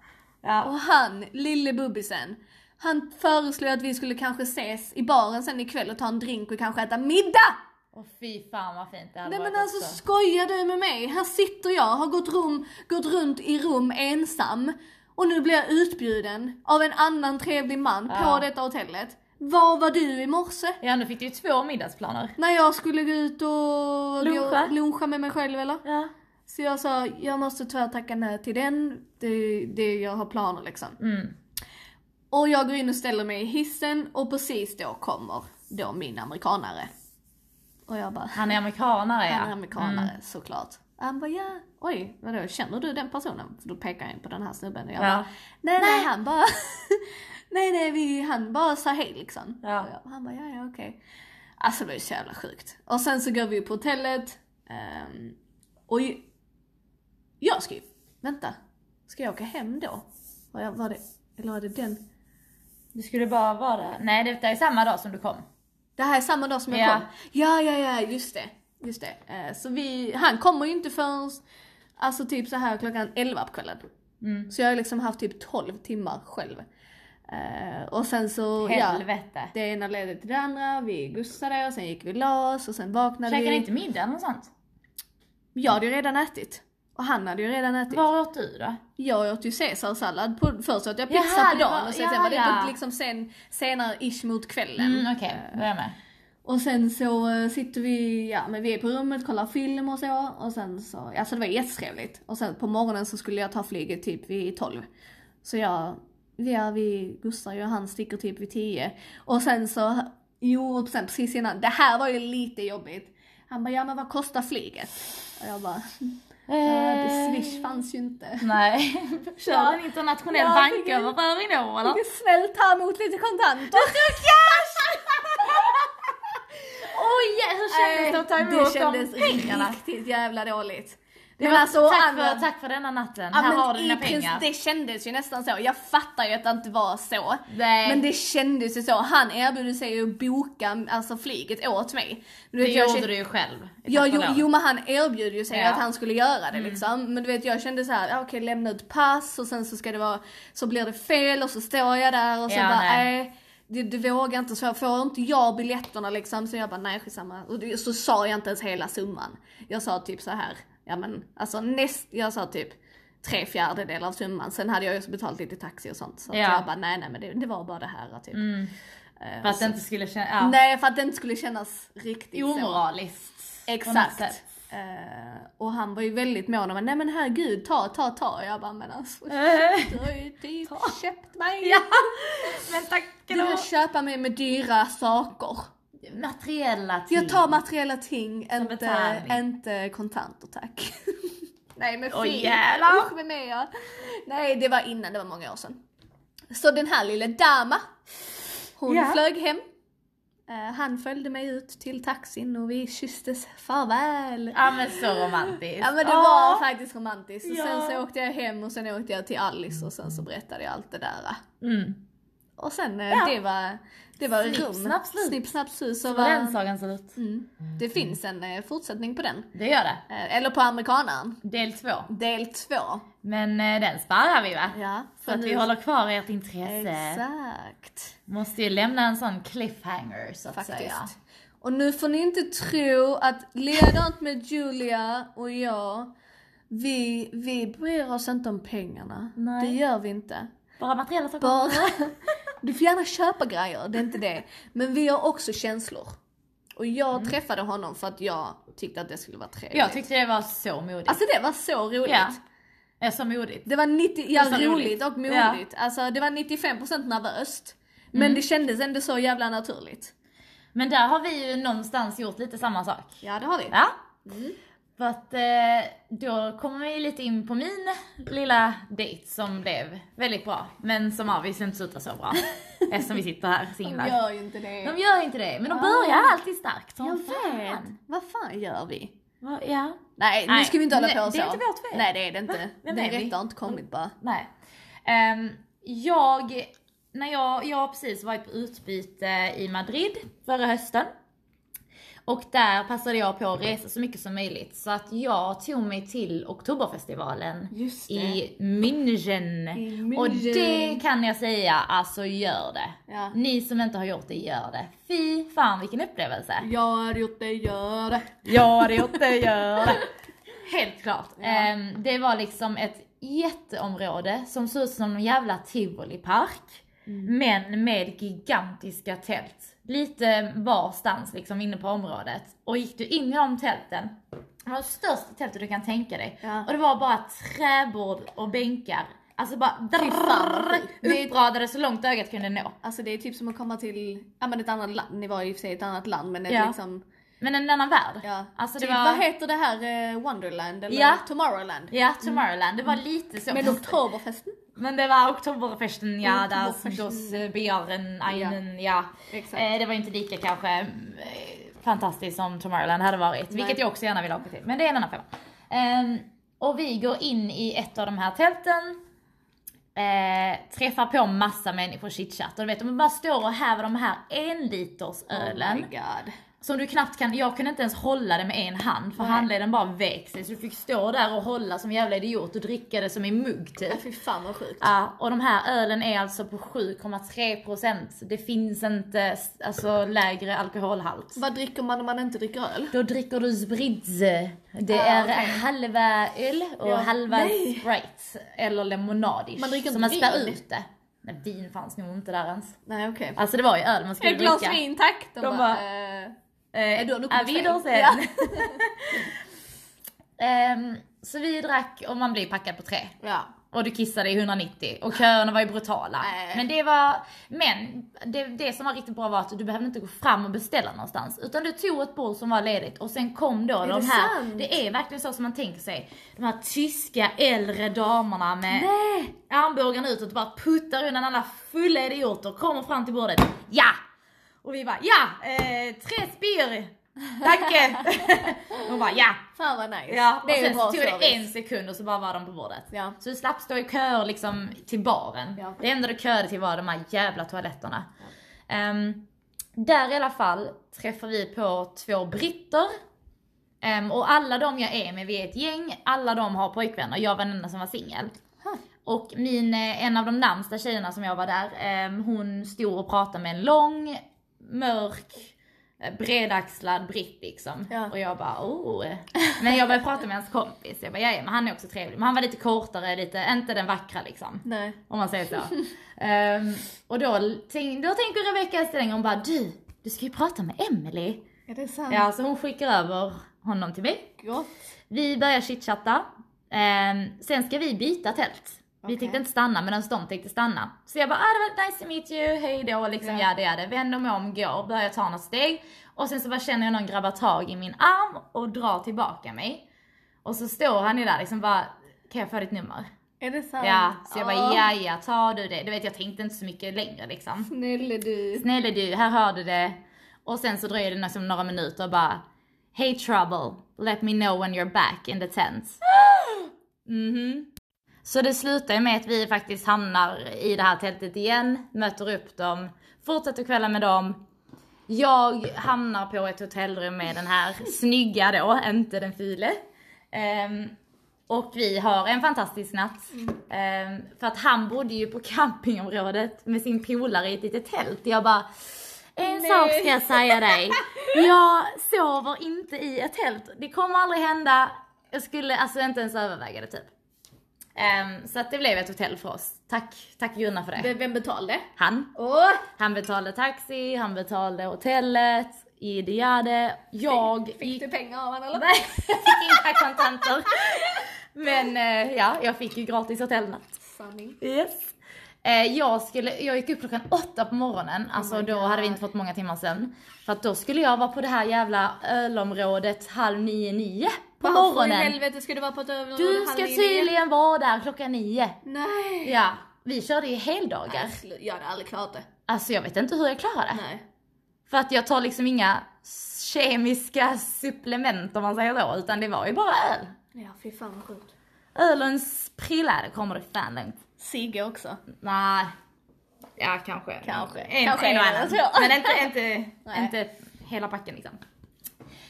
[SPEAKER 1] Ja.
[SPEAKER 2] Och han, lille bubbisen, han föreslog att vi skulle kanske ses i baren sen ikväll och ta en drink och kanske äta middag!
[SPEAKER 1] Och fy fan vad fint det hade
[SPEAKER 2] Nej men
[SPEAKER 1] varit
[SPEAKER 2] alltså
[SPEAKER 1] också.
[SPEAKER 2] skojar du med mig? Här sitter jag, har gått, rum, gått runt i rum ensam och nu blir jag utbjuden av en annan trevlig man
[SPEAKER 1] Ja.
[SPEAKER 2] på detta hotellet. Var var du i morse?
[SPEAKER 1] Ja nu fick du ju två middagsplaner.
[SPEAKER 2] När jag skulle gå ut och
[SPEAKER 1] Luncha.
[SPEAKER 2] gå- luncha med mig själv eller?
[SPEAKER 1] Ja.
[SPEAKER 2] Så jag sa, jag måste tyvärr tacka nej till den, det, det jag har planer liksom.
[SPEAKER 1] Mm.
[SPEAKER 2] Och jag går in och ställer mig i hissen och precis då kommer då min amerikanare. Och jag bara,
[SPEAKER 1] Han är amerikanare ja. Mm.
[SPEAKER 2] han är amerikanare såklart. Han bara, ja, oj, vadå, känner du den personen? För då pekar jag in på den här snubben och jag
[SPEAKER 1] Ja.
[SPEAKER 2] bara, nej nej, han bara, nej nej, vi, han bara sa hej liksom.
[SPEAKER 1] Ja.
[SPEAKER 2] Och jag, han bara, ja ja okej. Alltså det var ju så jävla sjukt. Och sen så går vi på hotellet. ehm, och ju, jag ska ju, vänta, ska jag åka hem då? Var, jag, var det, eller var det den?
[SPEAKER 1] Du skulle bara vara där. Nej det är samma dag som du kom.
[SPEAKER 2] Det här är samma dag som jag
[SPEAKER 1] Ja.
[SPEAKER 2] kom. Ja, ja, ja, just det. Just det. Eh, Så vi, han kommer ju inte förrän alltså typ så här klockan 11 på kvällen.
[SPEAKER 1] Mm.
[SPEAKER 2] Så jag har liksom haft typ 12 timmar själv. Eh, Och sen så, ja.
[SPEAKER 1] Helvete.
[SPEAKER 2] Det ena ledde till det andra, vi gussade och sen gick vi och la oss och sen vaknade
[SPEAKER 1] Käkade
[SPEAKER 2] vi.
[SPEAKER 1] ni inte middag eller något sånt?
[SPEAKER 2] Jag hade ju redan ätit. Och han hade ju redan ätit.
[SPEAKER 1] Vad åt du då?
[SPEAKER 2] Jag åt ju caesarsallad, på, först åt jag pizza
[SPEAKER 1] Jaha,
[SPEAKER 2] på
[SPEAKER 1] det var-
[SPEAKER 2] dagen och sen, sen
[SPEAKER 1] ja,
[SPEAKER 2] var det
[SPEAKER 1] ja.
[SPEAKER 2] på, liksom sen, senare ish mot kvällen.
[SPEAKER 1] Mm, Okej, då är jag med.
[SPEAKER 2] Och sen så eh, sitter vi, ja men vi är på rummet, kollar film och så. Och sen så, alltså det var jättetrevligt. Och sen på morgonen så skulle jag ta flyget typ vid 12. Så jag, vi är vid Gustav och han sticker typ vid 10. Och sen så, jo och sen precis innan, det här var ju lite jobbigt. Han bara, ja men vad kostar flyget? Och jag bara, äh,
[SPEAKER 1] Eh."
[SPEAKER 2] det swish fanns ju inte.
[SPEAKER 1] Nej. Kör en internationell
[SPEAKER 2] Ja,
[SPEAKER 1] banköverföring då eller?
[SPEAKER 2] Det snällt ta emot lite kontanter.
[SPEAKER 1] Oj, hur kändes det att ta emot
[SPEAKER 2] Äh, det
[SPEAKER 1] de
[SPEAKER 2] kändes
[SPEAKER 1] pengarna?
[SPEAKER 2] riktigt jävla dåligt.
[SPEAKER 1] Det
[SPEAKER 2] Men
[SPEAKER 1] var-
[SPEAKER 2] alltså,
[SPEAKER 1] tack,
[SPEAKER 2] andra-
[SPEAKER 1] för, tack för denna natten,
[SPEAKER 2] Ja,
[SPEAKER 1] här
[SPEAKER 2] men
[SPEAKER 1] har du
[SPEAKER 2] i
[SPEAKER 1] dina
[SPEAKER 2] princip-
[SPEAKER 1] pengar.
[SPEAKER 2] Det kändes ju nästan så. Jag fattar ju att det inte var så.
[SPEAKER 1] Nej.
[SPEAKER 2] Men det kändes ju så. Han erbjöd sig ju att boka alltså, flyget åt mig. Du
[SPEAKER 1] Det
[SPEAKER 2] vet, jag
[SPEAKER 1] gjorde
[SPEAKER 2] kän-
[SPEAKER 1] du ju själv. i
[SPEAKER 2] Ja,
[SPEAKER 1] tack och
[SPEAKER 2] jo,
[SPEAKER 1] lov.
[SPEAKER 2] jo men han erbjöd ju sig
[SPEAKER 1] Ja. Mm.
[SPEAKER 2] att han skulle göra det liksom. Men du vet jag kände så här, ah, okej lämna ut pass och sen så ska det vara, så blir det fel och så står jag där och så
[SPEAKER 1] Ja,
[SPEAKER 2] bara
[SPEAKER 1] nej.
[SPEAKER 2] nej. Du, du vågar inte, så jag får inte jag biljetterna liksom? Så jag bara nej skitsamma. Och det, så sa jag inte ens hela summan. Jag sa typ så här, ja men alltså näst, jag sa typ tre fjärdedelar av summan. Sen hade jag ju också betalat lite taxi och sånt. Så att
[SPEAKER 1] Ja.
[SPEAKER 2] jag bara nej nej men det, det var bara det här typ. Eh,
[SPEAKER 1] För att det inte skulle kännas... Ja.
[SPEAKER 2] Nej för att det inte skulle kännas riktigt så.
[SPEAKER 1] Omoraliskt. på något
[SPEAKER 2] Exakt.
[SPEAKER 1] sätt.
[SPEAKER 2] Eh, och han var ju väldigt mån om att nej men herregud ta, ta, ta. Jag bara men alltså du har ju typ köpt mig.
[SPEAKER 1] Eh. ja. Men tack
[SPEAKER 2] Du vill köpa mig med dyra saker.
[SPEAKER 1] Materiella ting.
[SPEAKER 2] Jag tar materiella ting, inte,
[SPEAKER 1] betalning.
[SPEAKER 2] inte kontanter tack. nej men
[SPEAKER 1] Åh,
[SPEAKER 2] fy.
[SPEAKER 1] jävlar.
[SPEAKER 2] Usch, vem är jag? Nej det var innan, det var många år sedan. Så den här lilla dama, hon
[SPEAKER 1] Ja.
[SPEAKER 2] flög hem. Eh, han följde mig ut till taxin och vi kysstes farväl.
[SPEAKER 1] Ja men så romantiskt.
[SPEAKER 2] Ja men det
[SPEAKER 1] Åh.
[SPEAKER 2] var faktiskt romantiskt. Och sen
[SPEAKER 1] Ja.
[SPEAKER 2] så åkte jag hem och sen åkte jag till Alice och sen så berättade jag allt det där.
[SPEAKER 1] Mm.
[SPEAKER 2] Och sen eh,
[SPEAKER 1] Ja.
[SPEAKER 2] det var, det var
[SPEAKER 1] Snipp,
[SPEAKER 2] rum.
[SPEAKER 1] snapp, slut.
[SPEAKER 2] Snipp, snapp, slut. Så
[SPEAKER 1] Så var den
[SPEAKER 2] var,
[SPEAKER 1] sagan slut.
[SPEAKER 2] mm. Det finns en eh, fortsättning på den.
[SPEAKER 1] Det gör det.
[SPEAKER 2] Eh, Eller på amerikanaren.
[SPEAKER 1] Del två.
[SPEAKER 2] Del två.
[SPEAKER 1] Men eh, den sparar vi va?
[SPEAKER 2] Ja,
[SPEAKER 1] Så att vi håller kvar ert intresse.
[SPEAKER 2] Exakt.
[SPEAKER 1] Måste ju lämna en sån cliffhanger så att säga.
[SPEAKER 2] Faktiskt. Och nu får ni inte tro att ledant med Julia och jag, vi, vi bryr oss inte om pengarna.
[SPEAKER 1] Nej.
[SPEAKER 2] Det gör vi inte.
[SPEAKER 1] Bara materiella saker.
[SPEAKER 2] Bara... Du får gärna köpa grejer, det är inte det. Men vi har också känslor. Och jag träffade honom för att jag tyckte att det skulle vara trevligt.
[SPEAKER 1] Mm. Jag tyckte det var så modigt.
[SPEAKER 2] Alltså det var så roligt.
[SPEAKER 1] Ja. ja, så modigt.
[SPEAKER 2] Det var 90, ja,
[SPEAKER 1] Det var
[SPEAKER 2] roligt.
[SPEAKER 1] roligt.
[SPEAKER 2] och modigt. Alltså det var 95% nervöst. Men
[SPEAKER 1] Mm.
[SPEAKER 2] det kändes ändå så jävla naturligt.
[SPEAKER 1] Men där har vi ju någonstans gjort lite samma sak.
[SPEAKER 2] Ja det har vi.
[SPEAKER 1] Ja. Mm. För att eh, då kommer vi lite in på min lilla dejt som blev väldigt bra. Men som obviously inte slutar så bra. eftersom vi sitter här
[SPEAKER 2] De
[SPEAKER 1] singlar.
[SPEAKER 2] gör ju inte det.
[SPEAKER 1] De gör inte det, men de
[SPEAKER 2] Ah.
[SPEAKER 1] börjar alltid starkt som
[SPEAKER 2] jag vet.
[SPEAKER 1] fan.
[SPEAKER 2] Vad fan gör vi?
[SPEAKER 1] Va, ja.
[SPEAKER 2] Nej, nu
[SPEAKER 1] Nej,
[SPEAKER 2] ska vi inte hålla
[SPEAKER 1] nej,
[SPEAKER 2] på så.
[SPEAKER 1] det är inte vårt fel.
[SPEAKER 2] Nej det är det inte.
[SPEAKER 1] Vem
[SPEAKER 2] Den
[SPEAKER 1] är vi?
[SPEAKER 2] rätta har inte kommit bara.
[SPEAKER 1] Nej. Ehm, jag, när jag, jag har precis varit på utbyte i Madrid förra hösten. Och där passade jag på att resa så mycket som möjligt. Så att jag tog mig till Oktoberfestivalen
[SPEAKER 2] Just
[SPEAKER 1] i München.
[SPEAKER 2] I München.
[SPEAKER 1] Och det kan jag säga, alltså gör det.
[SPEAKER 2] Ja.
[SPEAKER 1] Ni som inte har gjort det, gör det. Fy fan vilken upplevelse.
[SPEAKER 2] Jag har gjort det, gör det.
[SPEAKER 1] Ja, det gjort det, gör det. Helt klart.
[SPEAKER 2] Ja.
[SPEAKER 1] Ehm, det var liksom ett jätteområde som såg ut som en jävla tivolipark. Men med gigantiska tält. Lite varstans liksom inne på området. Och gick du in i de tälten, det var det största tältet du kan tänka dig.
[SPEAKER 2] Ja.
[SPEAKER 1] Och det var bara träbord och bänkar. Alltså bara
[SPEAKER 2] fan, vad
[SPEAKER 1] drrrr,
[SPEAKER 2] sjukt. Det-
[SPEAKER 1] uppradade så långt ögat kunde nå.
[SPEAKER 2] Alltså det är typ som att komma till, ja men ett annat land, ni var ju i och för sig i ett annat land men ett
[SPEAKER 1] Ja.
[SPEAKER 2] liksom,
[SPEAKER 1] Men en annan värld.
[SPEAKER 2] ja.
[SPEAKER 1] Alltså, det
[SPEAKER 2] typ,
[SPEAKER 1] var-
[SPEAKER 2] vad heter det här, eh, Wonderland eller
[SPEAKER 1] Ja.
[SPEAKER 2] Tomorrowland?
[SPEAKER 1] Ja, Tomorrowland. Det var lite så.
[SPEAKER 2] Men
[SPEAKER 1] fast-
[SPEAKER 2] Oktoberfesten?
[SPEAKER 1] Men det var Oktoberfesten, ja, där som
[SPEAKER 2] Oktoberfesten.
[SPEAKER 1] dos eh, Bären, einen, ja.
[SPEAKER 2] Exakt.
[SPEAKER 1] Eh, det var inte lika kanske mm, eh, fantastiskt som Tomorrowland hade varit, vilket jag också gärna vill åka till. Men det är en annan femma. Ehm, och vi går in i ett av de här tälten, eh, träffar på massa människor, chitchat. Och du vet, de bara står och häver de här en liters
[SPEAKER 2] Oh
[SPEAKER 1] ölen.
[SPEAKER 2] my god.
[SPEAKER 1] Som du knappt kan, jag kunde inte ens hålla det med en hand för
[SPEAKER 2] Nej.
[SPEAKER 1] handleden bara vek sig så du fick stå där och hålla som jävla idiot och dricka det som i mugg typ.
[SPEAKER 2] Fy fan vad sjukt.
[SPEAKER 1] Ja, och de här ölen är alltså på 7,3%. Det finns inte alltså, lägre alkoholhalt.
[SPEAKER 2] Vad dricker man om man inte dricker öl?
[SPEAKER 1] Då dricker du spritz. Det
[SPEAKER 2] Ah,
[SPEAKER 1] är
[SPEAKER 2] okej.
[SPEAKER 1] halva öl och
[SPEAKER 2] Ja.
[SPEAKER 1] halva
[SPEAKER 2] Nej.
[SPEAKER 1] Sprite. Eller lemonadish.
[SPEAKER 2] Man dricker
[SPEAKER 1] så man
[SPEAKER 2] inte
[SPEAKER 1] spär
[SPEAKER 2] vin.
[SPEAKER 1] ut det. Men vin fanns nog inte där ens.
[SPEAKER 2] Nej okej.
[SPEAKER 1] Alltså det var ju öl man skulle
[SPEAKER 2] Ett glas
[SPEAKER 1] dricka.
[SPEAKER 2] vin tack! De,
[SPEAKER 1] De
[SPEAKER 2] bara...
[SPEAKER 1] bara,
[SPEAKER 2] eh,
[SPEAKER 1] Eh,
[SPEAKER 2] då- då kommer
[SPEAKER 1] ah, vi
[SPEAKER 2] fel.
[SPEAKER 1] då sen.
[SPEAKER 2] Ja.
[SPEAKER 1] Ehm, så vi drack och man blev packad på tre.
[SPEAKER 2] ja.
[SPEAKER 1] Och du kissade i 190 och köerna var ju brutala.
[SPEAKER 2] Nej.
[SPEAKER 1] Men det var, men det, det som var riktigt bra var att du behövde inte gå fram och beställa någonstans. Utan du tog ett bord som var ledigt och sen kom då
[SPEAKER 2] det
[SPEAKER 1] de här,
[SPEAKER 2] sant?
[SPEAKER 1] det är verkligen så som man tänker sig. De här tyska äldre damerna med
[SPEAKER 2] Nej!
[SPEAKER 1] armbågarna utåt och bara puttar undan alla fulla idioter, kommer fram till bordet. Ja! Och vi bara ja! Eh, tre spyr! Tacke! Hon bara ja!
[SPEAKER 2] Fan vad nice.
[SPEAKER 1] Ja,
[SPEAKER 2] det
[SPEAKER 1] och
[SPEAKER 2] är ju
[SPEAKER 1] sen
[SPEAKER 2] bra
[SPEAKER 1] så tog det
[SPEAKER 2] service.
[SPEAKER 1] en sekund och så bara var de på bordet.
[SPEAKER 2] Ja.
[SPEAKER 1] Så du slapp stå i köer liksom till baren.
[SPEAKER 2] Ja.
[SPEAKER 1] Det enda du köade till var de här jävla toaletterna. Ehm, där i alla fall träffar vi på två britter. Ehm, och alla de jag är med, vi är ett gäng, alla de har pojkvänner. Jag var den enda som var singel.
[SPEAKER 2] Huh.
[SPEAKER 1] Och min, eh, en av de närmsta tjejerna som jag var där, ehm, hon stod och pratade med en lång, mörk, eh, bredaxlad britt liksom.
[SPEAKER 2] Ja.
[SPEAKER 1] Och jag bara oh. Men jag började prata med hans kompis, jag bara ja, ja, men han är också trevlig. Men han var lite kortare, lite, inte den vackra liksom.
[SPEAKER 2] Nej.
[SPEAKER 1] Om man säger så. Ehm, och då, tänk, då tänker Rebecca Stellinger, hon bara du, du ska ju prata med Emily.
[SPEAKER 2] Är det sant?
[SPEAKER 1] Ja, så hon skickar över honom till mig.
[SPEAKER 2] Gott.
[SPEAKER 1] Vi börjar chitchatta. Ehm, sen ska vi byta tält. Vi
[SPEAKER 2] Okej.
[SPEAKER 1] tänkte inte stanna medan de tänkte stanna. Så jag bara, ah, det var nice to meet you, hej då, liksom
[SPEAKER 2] Ja.
[SPEAKER 1] ja det är det. Vänder mig om, går, börjar ta något steg. Och sen så bara känner jag någon grabba tag i min arm och drar tillbaka mig. Och så står han ju där liksom bara, kan jag få ditt nummer?
[SPEAKER 2] Är det sant?
[SPEAKER 1] Ja, så jag bara,
[SPEAKER 2] Åh,
[SPEAKER 1] ja ja, tar du det? Du vet jag tänkte inte så mycket längre liksom.
[SPEAKER 2] Snälla du.
[SPEAKER 1] Snälla du, här har du det. Och sen så dröjer det liksom några minuter och bara Hey trouble, let me know when you're back in the tent. Mhm. Så det slutar ju med att vi faktiskt hamnar i det här tältet igen, möter upp dem, fortsätter kvällen med dem. Jag hamnar på ett hotellrum med den här snygga då, inte den file. Ehm, och vi har en fantastisk natt. Ehm, för att han bodde ju på campingområdet med sin polare i ett litet tält. Jag bara, en
[SPEAKER 2] Nej.
[SPEAKER 1] sak ska jag säga dig. Jag sover inte i ett tält. Det kommer aldrig hända. Jag skulle alltså inte ens överväga det typ. Ehm, så att det blev ett hotell för oss. Tack, tack Gunnar för det.
[SPEAKER 2] V- Vem betalade?
[SPEAKER 1] Han.
[SPEAKER 2] Åh!
[SPEAKER 1] Han betalade taxi, han betalade hotellet, ideade. E, Jag
[SPEAKER 2] Fick du pengar av honom eller?
[SPEAKER 1] Nej, jag fick inga kontanter. Men eh, ja, jag fick ju gratis hotellnatt.
[SPEAKER 2] Sanning.
[SPEAKER 1] Yes. Eh, jag, skulle, jag gick upp klockan åtta på morgonen, alltså
[SPEAKER 2] Oh my
[SPEAKER 1] då
[SPEAKER 2] God.
[SPEAKER 1] hade vi inte fått många timmar sen. För att då skulle jag vara på det här jävla ölområdet halv nio, nio på
[SPEAKER 2] i
[SPEAKER 1] morgonen.
[SPEAKER 2] helvete ska du vara på ett överlåd
[SPEAKER 1] Du ska tydligen vara där klockan nio.
[SPEAKER 2] Nej.
[SPEAKER 1] Ja, vi körde ju heldagar.
[SPEAKER 2] Nej, slu- Jag hade aldrig klarat det.
[SPEAKER 1] Alltså jag vet inte hur jag klarade det.
[SPEAKER 2] Nej.
[SPEAKER 1] För att jag tar liksom inga kemiska supplement om man säger så, utan det var ju bara öl.
[SPEAKER 2] Ja fy fan vad sjukt.
[SPEAKER 1] Ölens prillar kommer det fan lugnt.
[SPEAKER 2] Sigge också.
[SPEAKER 1] Nej. Ja kanske.
[SPEAKER 2] Kanske.
[SPEAKER 1] En,
[SPEAKER 2] Kanske
[SPEAKER 1] en och
[SPEAKER 2] en eller
[SPEAKER 1] annan.
[SPEAKER 2] två.
[SPEAKER 1] Men inte, inte,
[SPEAKER 2] Nej.
[SPEAKER 1] inte hela packen liksom.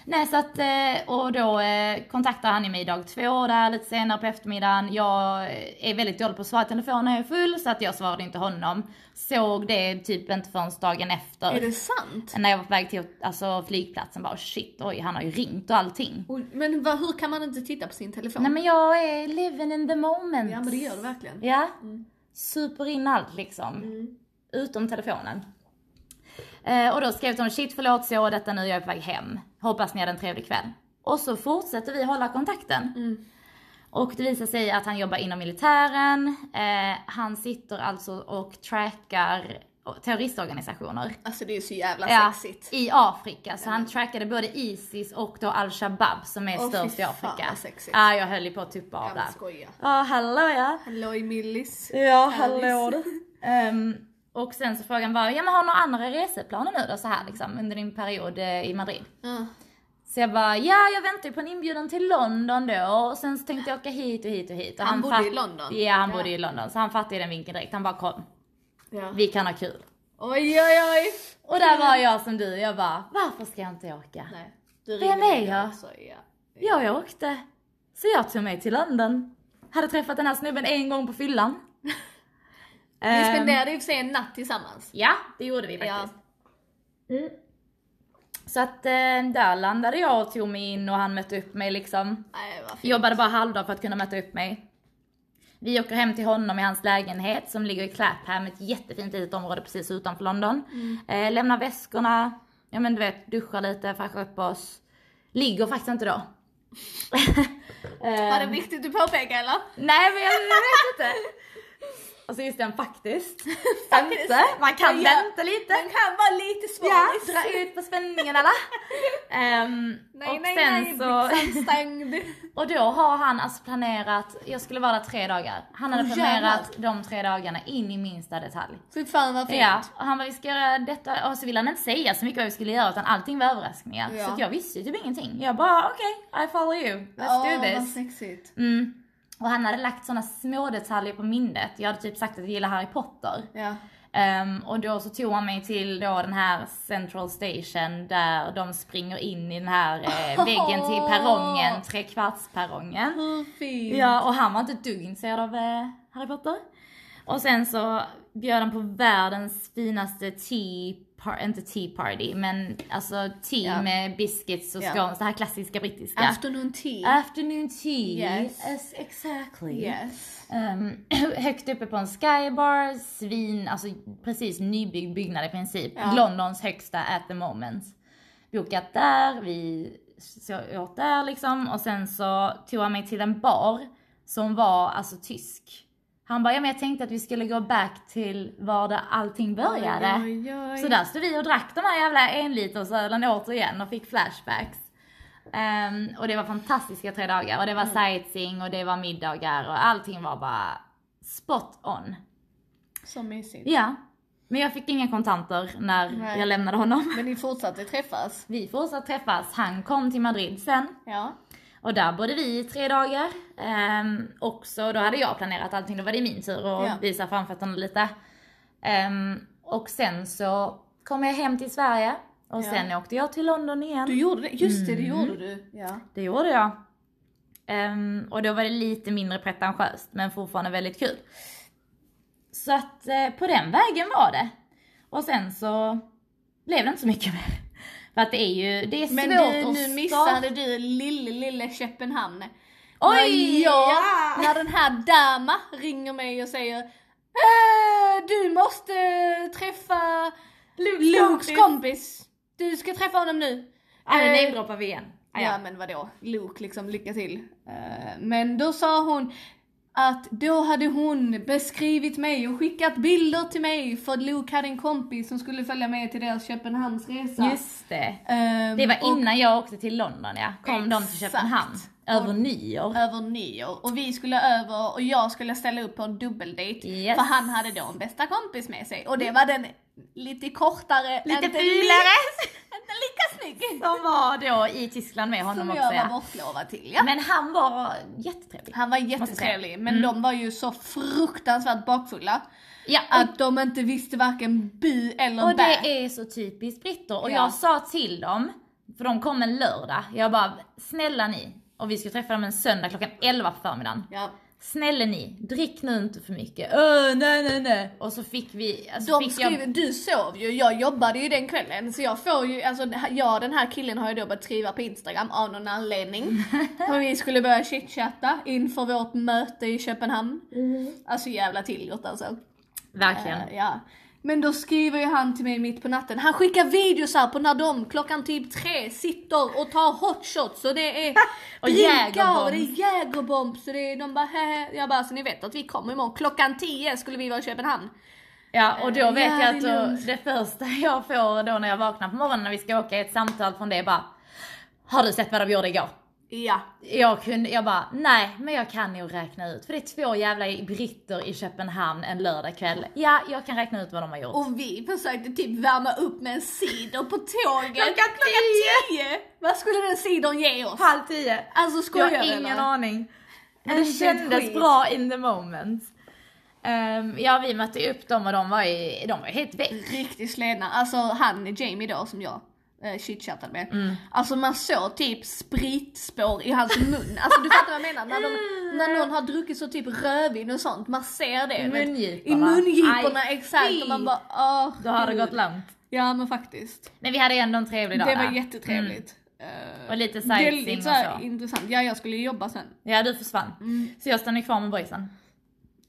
[SPEAKER 1] Nej så att, eh, och då eh, kontaktar han ju mig dag två där lite senare på eftermiddagen. Jag eh, är väldigt dålig på att svara i telefon när jag är full så att jag svarade inte honom. Såg det typ inte förrän dagen efter.
[SPEAKER 2] Är det sant?
[SPEAKER 1] När jag var på väg till alltså, flygplatsen bara shit oj han har ju ringt och allting.
[SPEAKER 2] Oj, Men vad, hur kan man inte titta på sin telefon?
[SPEAKER 1] Nej men jag är living in the moment.
[SPEAKER 2] Ja men det gör du verkligen.
[SPEAKER 1] Ja.
[SPEAKER 2] Mm.
[SPEAKER 1] Super in allt liksom.
[SPEAKER 2] Mm.
[SPEAKER 1] Utom telefonen. Eh, och då skrev de shit förlåt så detta nu jag är på väg hem. Hoppas ni hade en trevlig kväll. Och så fortsätter vi hålla kontakten.
[SPEAKER 2] Mm.
[SPEAKER 1] Och det visar sig att han jobbar inom militären. Eh, han sitter alltså och trackar terroristorganisationer.
[SPEAKER 2] Alltså det är så jävla
[SPEAKER 1] Ja,
[SPEAKER 2] sexigt.
[SPEAKER 1] I Afrika. Så han trackade både Isis och då Al-Shabaab som är
[SPEAKER 2] Åh, fy
[SPEAKER 1] störst i
[SPEAKER 2] fan,
[SPEAKER 1] Afrika.
[SPEAKER 2] vad sexigt.
[SPEAKER 1] Ja, jag höll ju på att tuppa av
[SPEAKER 2] Jag
[SPEAKER 1] där.
[SPEAKER 2] skoja.
[SPEAKER 1] Ja, hallå ja.
[SPEAKER 2] Halloj Millis.
[SPEAKER 1] Ja,
[SPEAKER 2] Alice.
[SPEAKER 1] hallå du. Ehm, och sen så frågan var, ja men har du några andra reseplaner nu då så här liksom under din period eh, i Madrid?
[SPEAKER 2] Ja.
[SPEAKER 1] Så jag bara, ja jag väntar ju på en inbjudan till London då och sen så tänkte jag åka hit och hit och hit. Och
[SPEAKER 2] Han bodde
[SPEAKER 1] fatt-
[SPEAKER 2] i London?
[SPEAKER 1] Ja han
[SPEAKER 2] Ja.
[SPEAKER 1] bodde i London så han fattade ju den vinkeln direkt. Han bara kom,
[SPEAKER 2] Ja.
[SPEAKER 1] vi kan ha kul.
[SPEAKER 2] Oj oj oj.
[SPEAKER 1] Och där var jag som du, jag bara varför ska jag inte åka?
[SPEAKER 2] Nej, du
[SPEAKER 1] Vem
[SPEAKER 2] ringde
[SPEAKER 1] är
[SPEAKER 2] mig
[SPEAKER 1] jag?
[SPEAKER 2] också, ja.
[SPEAKER 1] Ja, jag åkte. Så jag tog mig till London. Hade träffat den här snubben en gång på fyllan.
[SPEAKER 2] Vi
[SPEAKER 1] Ehm,
[SPEAKER 2] spenderade i och för sig en natt tillsammans.
[SPEAKER 1] Ja, det gjorde vi faktiskt. Mm. Så att eh, där landade jag och tog mig in och han mötte upp mig liksom.
[SPEAKER 2] Nej, vad fint.
[SPEAKER 1] Jobbade bara halvdag för att kunna möta upp mig. Vi åker hem till honom i hans lägenhet som ligger i Clapham, ett jättefint litet område precis utanför London.
[SPEAKER 2] Mm.
[SPEAKER 1] Eh, lämnar väskorna, ja men du vet, duschar lite, fräschar upp oss. Ligger faktiskt inte då.
[SPEAKER 2] Var det viktigt att påpeka eller?
[SPEAKER 1] Nej men jag, jag vet inte. Och så just den faktiskt.
[SPEAKER 2] Faktiskt.
[SPEAKER 1] Inte. Man kan
[SPEAKER 2] Ja.
[SPEAKER 1] vänta lite.
[SPEAKER 2] Den kan vara lite svår.
[SPEAKER 1] Ja, dra ut på spänningen alla. Ehm,
[SPEAKER 2] Nej,
[SPEAKER 1] och
[SPEAKER 2] nej,
[SPEAKER 1] sen
[SPEAKER 2] nej,
[SPEAKER 1] så...
[SPEAKER 2] byxan stängd.
[SPEAKER 1] Och då har han alltså planerat, jag skulle vara där tre dagar. Han hade
[SPEAKER 2] Åh,
[SPEAKER 1] planerat de tre dagarna in i minsta detalj.
[SPEAKER 2] Fy Typ fan vad fint.
[SPEAKER 1] Ja, och han bara vi ska göra detta och så ville han inte säga så mycket vad vi skulle göra utan allting var överraskningar.
[SPEAKER 2] Ja.
[SPEAKER 1] Så att jag visste ju typ ingenting. Jag bara okej, I follow you, let's
[SPEAKER 2] Åh,
[SPEAKER 1] do this.
[SPEAKER 2] vad sexigt.
[SPEAKER 1] Mm. Och han hade lagt såna små detaljer på minnet. Jag hade typ sagt att jag gillar Harry Potter.
[SPEAKER 2] Ja.
[SPEAKER 1] Ehm, och då så tog han mig till då den här central station där de springer in i den här eh, väggen till perrongen, trekvartsperrongen.
[SPEAKER 2] Hur fint.
[SPEAKER 1] Ja, och han var inte ett dugg intresserad av eh, Harry Potter. Och sen så bjöd han på världens finaste tea, par- inte tea party, men alltså tea
[SPEAKER 2] Ja.
[SPEAKER 1] med biscuits och
[SPEAKER 2] Ja.
[SPEAKER 1] scones, det här klassiska brittiska.
[SPEAKER 2] Afternoon tea.
[SPEAKER 1] Afternoon tea.
[SPEAKER 2] Yes.
[SPEAKER 1] exactly.
[SPEAKER 2] yes.
[SPEAKER 1] Ehm, högt uppe på en skybar, svin, alltså precis nybyggd byggnad i princip.
[SPEAKER 2] Ja.
[SPEAKER 1] Londons högsta at the moment. Bokat där, vi så jag åt där liksom och sen så tog han mig till en bar som var alltså tysk. Han bara, ja men jag tänkte att vi skulle gå back till var där allting började.
[SPEAKER 2] Oj, oj, oj.
[SPEAKER 1] Så där stod vi och drack de här jävla enlitersölen återigen och fick flashbacks. Ehm, och det var fantastiska tre dagar och det var sightseeing och det var middagar och allting var bara spot on.
[SPEAKER 2] Så mysigt.
[SPEAKER 1] Ja. Men jag fick inga kontanter när
[SPEAKER 2] Nej.
[SPEAKER 1] jag lämnade honom.
[SPEAKER 2] Men ni fortsatte träffas?
[SPEAKER 1] Vi fortsatte träffas, han kom till Madrid sen.
[SPEAKER 2] Ja.
[SPEAKER 1] Och där bodde vi i tre dagar. Um, också, då hade jag planerat allting, då var det min tur att
[SPEAKER 2] Ja.
[SPEAKER 1] visa framfötterna lite. Ehm, och sen så kom jag hem till Sverige och
[SPEAKER 2] Ja.
[SPEAKER 1] sen åkte jag till London igen.
[SPEAKER 2] Du gjorde det? Just det, det gjorde du. Mm. Ja.
[SPEAKER 1] Det gjorde jag. Ehm, och då var det lite mindre pretentiöst men fortfarande väldigt kul. Så att eh, på den vägen var det. Och sen så blev det inte så mycket mer. För att det är ju, det är svårt
[SPEAKER 2] Men
[SPEAKER 1] att
[SPEAKER 2] du, nu
[SPEAKER 1] starta-
[SPEAKER 2] missade du lille, lille Köpenhamn.
[SPEAKER 1] Oj!
[SPEAKER 2] När jag- När den här Dama ringer mig och säger "Eh, Du måste träffa
[SPEAKER 1] Lukes
[SPEAKER 2] Lukes kompis. Du ska träffa honom nu.
[SPEAKER 1] Ja, Ah, nu
[SPEAKER 2] Eh,
[SPEAKER 1] namedroppar vi igen. Ah,
[SPEAKER 2] Ja
[SPEAKER 1] ja.
[SPEAKER 2] men vadå, Luke liksom lycka till. Eh, Men då sa hon att då hade hon beskrivit mig och skickat bilder till mig för att Luke hade en kompis som skulle följa med till deras Köpenhamnsresa.
[SPEAKER 1] Just det.
[SPEAKER 2] Ehm,
[SPEAKER 1] Det var
[SPEAKER 2] och
[SPEAKER 1] innan jag åkte till London ja. Kom de till
[SPEAKER 2] Exakt.
[SPEAKER 1] Köpenhamn. Över nyår.
[SPEAKER 2] över nyår och vi skulle över och jag skulle ställa upp på en dubbeldejt
[SPEAKER 1] Yes.
[SPEAKER 2] för han hade då en bästa kompis med sig och det var den lite kortare,
[SPEAKER 1] Lite
[SPEAKER 2] inte
[SPEAKER 1] fulare.
[SPEAKER 2] li- inte lika snygg
[SPEAKER 1] De var då i Tyskland med honom
[SPEAKER 2] som
[SPEAKER 1] också
[SPEAKER 2] jag var
[SPEAKER 1] ja.
[SPEAKER 2] bortlovad till. Ja.
[SPEAKER 1] Men han var jättetrevlig.
[SPEAKER 2] Han var
[SPEAKER 1] jag säga. Mm.
[SPEAKER 2] jättetrevlig men de var ju så fruktansvärt bakfulla
[SPEAKER 1] Ja, och,
[SPEAKER 2] att de inte visste varken bu eller
[SPEAKER 1] och
[SPEAKER 2] bä.
[SPEAKER 1] det är så typiskt britter. Och
[SPEAKER 2] Ja.
[SPEAKER 1] jag sa till dem, för de kom en lördag, jag bara snälla ni, och vi skulle träffa dem en söndag klockan 11 på förmiddagen.
[SPEAKER 2] Ja.
[SPEAKER 1] Snälla ni, drick nu inte för mycket. Öh, nej nej nej. Och så fick vi, alltså,
[SPEAKER 2] De
[SPEAKER 1] fick jag
[SPEAKER 2] skrev, du sov ju, jag jobbade ju den kvällen så jag får ju, alltså jag den här killen har ju då börjat skriva på instagram av någon anledning. För vi skulle börja chitchatta inför vårt möte i Köpenhamn. Alltså jävla tillgjort alltså.
[SPEAKER 1] Mm. verkligen.
[SPEAKER 2] Eh, ja. Men då skriver ju han till mig mitt på natten, han skickar videos här på när de klockan typ tre sitter och tar hotshots och det är
[SPEAKER 1] Och
[SPEAKER 2] drinkar
[SPEAKER 1] jägerbombs.
[SPEAKER 2] och det är jägerbombs och det är, de bara hehe. Jag bara så ni vet att vi kommer imorgon klockan 10 skulle vi vara i Köpenhamn.
[SPEAKER 1] Ja och då
[SPEAKER 2] Eh,
[SPEAKER 1] vet
[SPEAKER 2] ja,
[SPEAKER 1] jag
[SPEAKER 2] det
[SPEAKER 1] att
[SPEAKER 2] är
[SPEAKER 1] då,
[SPEAKER 2] lugnt.
[SPEAKER 1] det första jag får då när jag vaknar på morgonen när vi ska åka är ett samtal från det bara Har du sett vad de gjorde igår?
[SPEAKER 2] Ja.
[SPEAKER 1] Jag kunde, jag bara nej men jag kan nog räkna ut för det är två jävla britter i Köpenhamn en lördagkväll. Ja jag kan räkna ut vad de har gjort.
[SPEAKER 2] Och vi försökte typ värma upp med en cider på tåget.
[SPEAKER 1] Klockan
[SPEAKER 2] tio! Vad skulle den cidern ge oss?
[SPEAKER 1] halv tio!
[SPEAKER 2] Alltså
[SPEAKER 1] Jag
[SPEAKER 2] skojar
[SPEAKER 1] har
[SPEAKER 2] du
[SPEAKER 1] ingen
[SPEAKER 2] eller?
[SPEAKER 1] aning.
[SPEAKER 2] Men
[SPEAKER 1] Men det
[SPEAKER 2] det känns
[SPEAKER 1] kändes
[SPEAKER 2] skit.
[SPEAKER 1] bra in the moment. Ehm, ja vi mötte ju upp dem och de var ju, de var ju helt väck.
[SPEAKER 2] Riktigt sledna. Alltså han Jamie då som jag eh, chitchattade med. Alltså man såg typ spritspår i hans mun. Alltså du fattar vad jag menar? När, de, när någon har druckit så typ rödvin och sånt, man ser det.
[SPEAKER 1] I mungiporna.
[SPEAKER 2] I mungiporna,
[SPEAKER 1] Aj,
[SPEAKER 2] exakt. Och man bara åh.
[SPEAKER 1] Då har det
[SPEAKER 2] gud.
[SPEAKER 1] gått långt.
[SPEAKER 2] Ja men faktiskt. Mm.
[SPEAKER 1] Men vi hade ändå en trevlig dag
[SPEAKER 2] Det var
[SPEAKER 1] där. Mm.
[SPEAKER 2] jättetrevligt. Eh,
[SPEAKER 1] Och lite sightseeing
[SPEAKER 2] Väldigt
[SPEAKER 1] och
[SPEAKER 2] så här,
[SPEAKER 1] så.
[SPEAKER 2] intressant. Ja jag skulle ju jobba sen.
[SPEAKER 1] Ja du försvann.
[SPEAKER 2] Mm.
[SPEAKER 1] Så jag stannade kvar med boysen.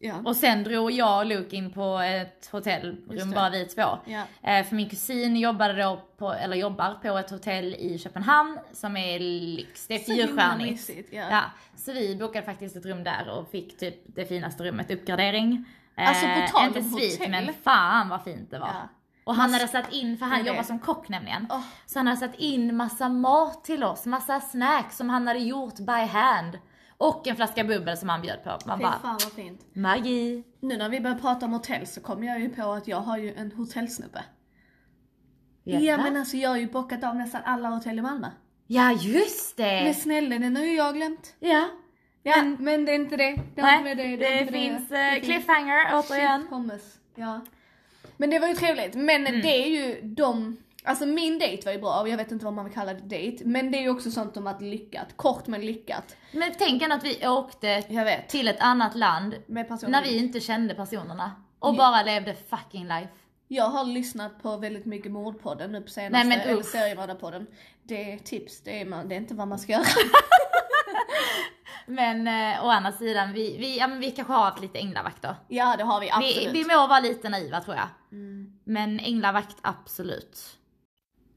[SPEAKER 2] Ja.
[SPEAKER 1] Och sen drog jag och Luke in på ett hotellrum,
[SPEAKER 2] det.
[SPEAKER 1] bara vi två.
[SPEAKER 2] Ja.
[SPEAKER 1] Eh, För min kusin jobbade då på, eller jobbar på ett hotell i Köpenhamn som är lyx, det är
[SPEAKER 2] Så himla
[SPEAKER 1] fyrstjärnigt.
[SPEAKER 2] mysigt, Ja.
[SPEAKER 1] Ja, så vi bokade faktiskt ett rum där och fick typ det finaste rummet, uppgradering. Eh,
[SPEAKER 2] Alltså, på tal
[SPEAKER 1] Inte
[SPEAKER 2] om
[SPEAKER 1] svit
[SPEAKER 2] hotell.
[SPEAKER 1] men fan vad fint det var.
[SPEAKER 2] Ja. Oh.
[SPEAKER 1] Och han hade satt in, för
[SPEAKER 2] Det
[SPEAKER 1] han
[SPEAKER 2] är det.
[SPEAKER 1] jobbar som kock nämligen.
[SPEAKER 2] Åh.
[SPEAKER 1] Så han hade satt in massa mat till oss, massa snacks som han hade gjort by hand. Och en flaska bubbel som han bjöd på. Man
[SPEAKER 2] Fy
[SPEAKER 1] bara,
[SPEAKER 2] fan vad fint.
[SPEAKER 1] magi.
[SPEAKER 2] Nu när vi börjar prata om hotell så kom jag ju på att jag har ju en hotellsnubbe. Ja men alltså jag har ju bockat av nästan alla hotell i Malmö.
[SPEAKER 1] ja just det!
[SPEAKER 2] Men snälla den har ju jag glömt.
[SPEAKER 1] Ja.
[SPEAKER 2] Ja men, det är inte det. Det, har
[SPEAKER 1] Nej,
[SPEAKER 2] inte
[SPEAKER 1] det,
[SPEAKER 2] med har inte med
[SPEAKER 1] finns
[SPEAKER 2] Det
[SPEAKER 1] eh, cliffhanger återigen. Mm.
[SPEAKER 2] Shit, Pommes. Ja. Men det var ju trevligt. Men det är ju de, alltså min dejt var ju bra och jag vet inte vad man vill kalla det dejt. Men det är ju också sånt om att lyckat. Kort men lyckat.
[SPEAKER 1] Men tänk ändå att vi åkte
[SPEAKER 2] Jag vet.
[SPEAKER 1] till ett annat land
[SPEAKER 2] Med personer.
[SPEAKER 1] när vi inte kände personerna. Och
[SPEAKER 2] Ja.
[SPEAKER 1] bara levde fucking life.
[SPEAKER 2] Jag har lyssnat på väldigt mycket mordpodden nu på
[SPEAKER 1] Nej,
[SPEAKER 2] senaste,
[SPEAKER 1] men
[SPEAKER 2] eller
[SPEAKER 1] usch.
[SPEAKER 2] seriemördarpodden. Det är tips, det är, man, det är inte vad man ska göra.
[SPEAKER 1] Men eh, å andra sidan, vi, vi, ja, men vi kanske har haft lite änglavakt då.
[SPEAKER 2] Ja det har vi
[SPEAKER 1] Vi,
[SPEAKER 2] absolut.
[SPEAKER 1] vi må vara lite naiva tror jag.
[SPEAKER 2] Mm.
[SPEAKER 1] Men änglavakt absolut.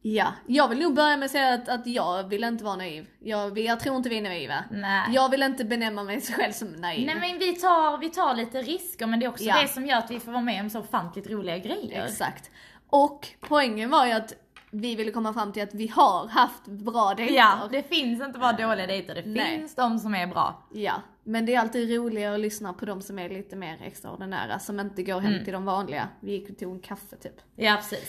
[SPEAKER 2] Ja, jag vill nog börja med att säga att, att jag vill inte vara naiv. Jag, jag tror inte vi är naiva.
[SPEAKER 1] Nej.
[SPEAKER 2] Jag vill inte benämna mig själv som naiv.
[SPEAKER 1] Nej men vi tar, vi tar lite risker men det är också
[SPEAKER 2] Ja.
[SPEAKER 1] det som gör att vi får vara med om så ofantligt roliga grejer.
[SPEAKER 2] Exakt. Och poängen var ju att vi ville komma fram till att vi har haft bra dejter.
[SPEAKER 1] Ja, det finns inte bara dåliga dejter, det
[SPEAKER 2] Nej.
[SPEAKER 1] finns de som är bra.
[SPEAKER 2] Ja, men det är alltid roligare att lyssna på de som är lite mer extraordinära, som inte går
[SPEAKER 1] Mm.
[SPEAKER 2] hem till de vanliga. Vi gick och tog en kaffe typ.
[SPEAKER 1] Ja precis.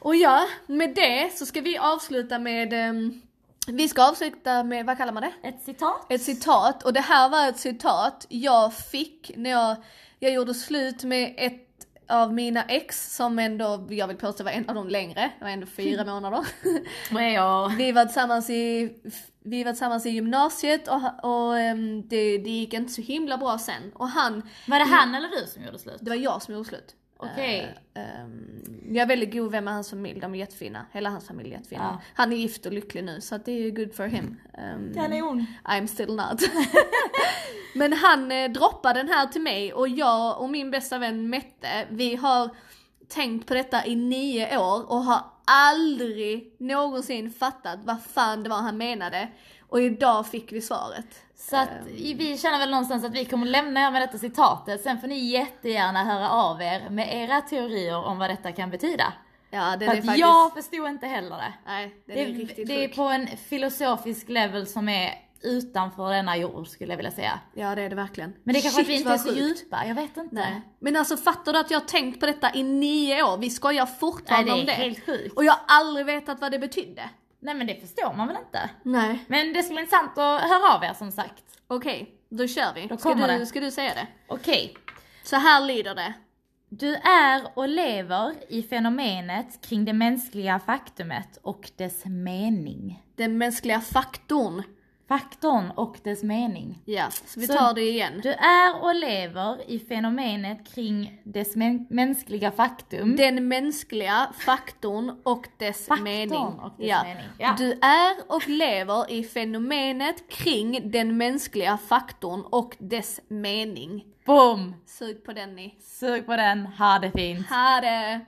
[SPEAKER 2] Och ja, med det så ska vi avsluta med, ehm, vi ska avsluta med, vad kallar man det?
[SPEAKER 1] Ett citat?
[SPEAKER 2] Ett citat, och det här var ett citat jag fick när jag, jag gjorde slut med ett av mina ex som ändå, jag vill påstå var en av dem längre, det var ändå fyra månader.
[SPEAKER 1] Och jag...
[SPEAKER 2] Vi var tillsammans i, vi var tillsammans i gymnasiet och, och ehm, det, det gick inte så himla bra sen. Och han,
[SPEAKER 1] Var det han eller du som gjorde slut?
[SPEAKER 2] det var jag som gjorde slut.
[SPEAKER 1] Okej.
[SPEAKER 2] Eh, ehm, jag är väldigt god vän med hans familj, de är jättefina. Hela hans familj är jättefina.
[SPEAKER 1] Ja.
[SPEAKER 2] Han är gift och lycklig nu så att det är good for him. Ehm,
[SPEAKER 1] Kanon.
[SPEAKER 2] I'm still not. Men han eh, droppade den här till mig och jag och min bästa vän Mette, vi har tänkt på detta i nio år och har aldrig någonsin fattat vad fan det var han menade. Och idag fick vi svaret.
[SPEAKER 1] Så att
[SPEAKER 2] Ehm.
[SPEAKER 1] vi känner väl någonstans att vi kommer lämna er med detta citatet. Sen får ni jättegärna höra av er med era teorier om vad detta kan betyda.
[SPEAKER 2] Ja, den
[SPEAKER 1] För
[SPEAKER 2] är
[SPEAKER 1] att
[SPEAKER 2] faktiskt...
[SPEAKER 1] jag förstod inte heller det.
[SPEAKER 2] Nej, den
[SPEAKER 1] Det
[SPEAKER 2] är
[SPEAKER 1] är,
[SPEAKER 2] riktigt
[SPEAKER 1] det är
[SPEAKER 2] sjuk.
[SPEAKER 1] på en filosofisk level som är utanför denna jord skulle jag vilja säga.
[SPEAKER 2] Ja, det är det verkligen.
[SPEAKER 1] Men det är kanske att vi
[SPEAKER 2] Shit,
[SPEAKER 1] inte
[SPEAKER 2] vad
[SPEAKER 1] är så
[SPEAKER 2] sjukt.
[SPEAKER 1] djupa, jag vet inte.
[SPEAKER 2] Nej. Men alltså fattar du att jag har tänkt på detta i nio år? Vi skojar
[SPEAKER 1] Nej
[SPEAKER 2] fortfarande
[SPEAKER 1] det är
[SPEAKER 2] om det.
[SPEAKER 1] helt sjukt.
[SPEAKER 2] Och jag har aldrig vetat vad det betydde.
[SPEAKER 1] Nej men det förstår man väl inte.
[SPEAKER 2] Nej.
[SPEAKER 1] Men det skulle vara intressant att höra av er som sagt.
[SPEAKER 2] Okej, då kör vi.
[SPEAKER 1] Då
[SPEAKER 2] ska,
[SPEAKER 1] kommer
[SPEAKER 2] du,
[SPEAKER 1] det.
[SPEAKER 2] ska du säga det?
[SPEAKER 1] Okej.
[SPEAKER 2] Så här lyder det.
[SPEAKER 1] Du är och lever i fenomenet kring det mänskliga faktumet och dess mening.
[SPEAKER 2] Den mänskliga faktorn.
[SPEAKER 1] Faktorn och dess mening.
[SPEAKER 2] Ja, så vi
[SPEAKER 1] Så-
[SPEAKER 2] tar det igen.
[SPEAKER 1] Du är och lever i fenomenet kring dess mä- mänskliga faktum.
[SPEAKER 2] Den mänskliga faktorn och dess
[SPEAKER 1] Faktorn
[SPEAKER 2] mening.
[SPEAKER 1] och dess mening, ja.
[SPEAKER 2] Du är och lever i fenomenet kring den mänskliga faktorn och dess mening.
[SPEAKER 1] Boom!
[SPEAKER 2] Sug på den ni.
[SPEAKER 1] Sug på den, ha det fint!
[SPEAKER 2] Ha det!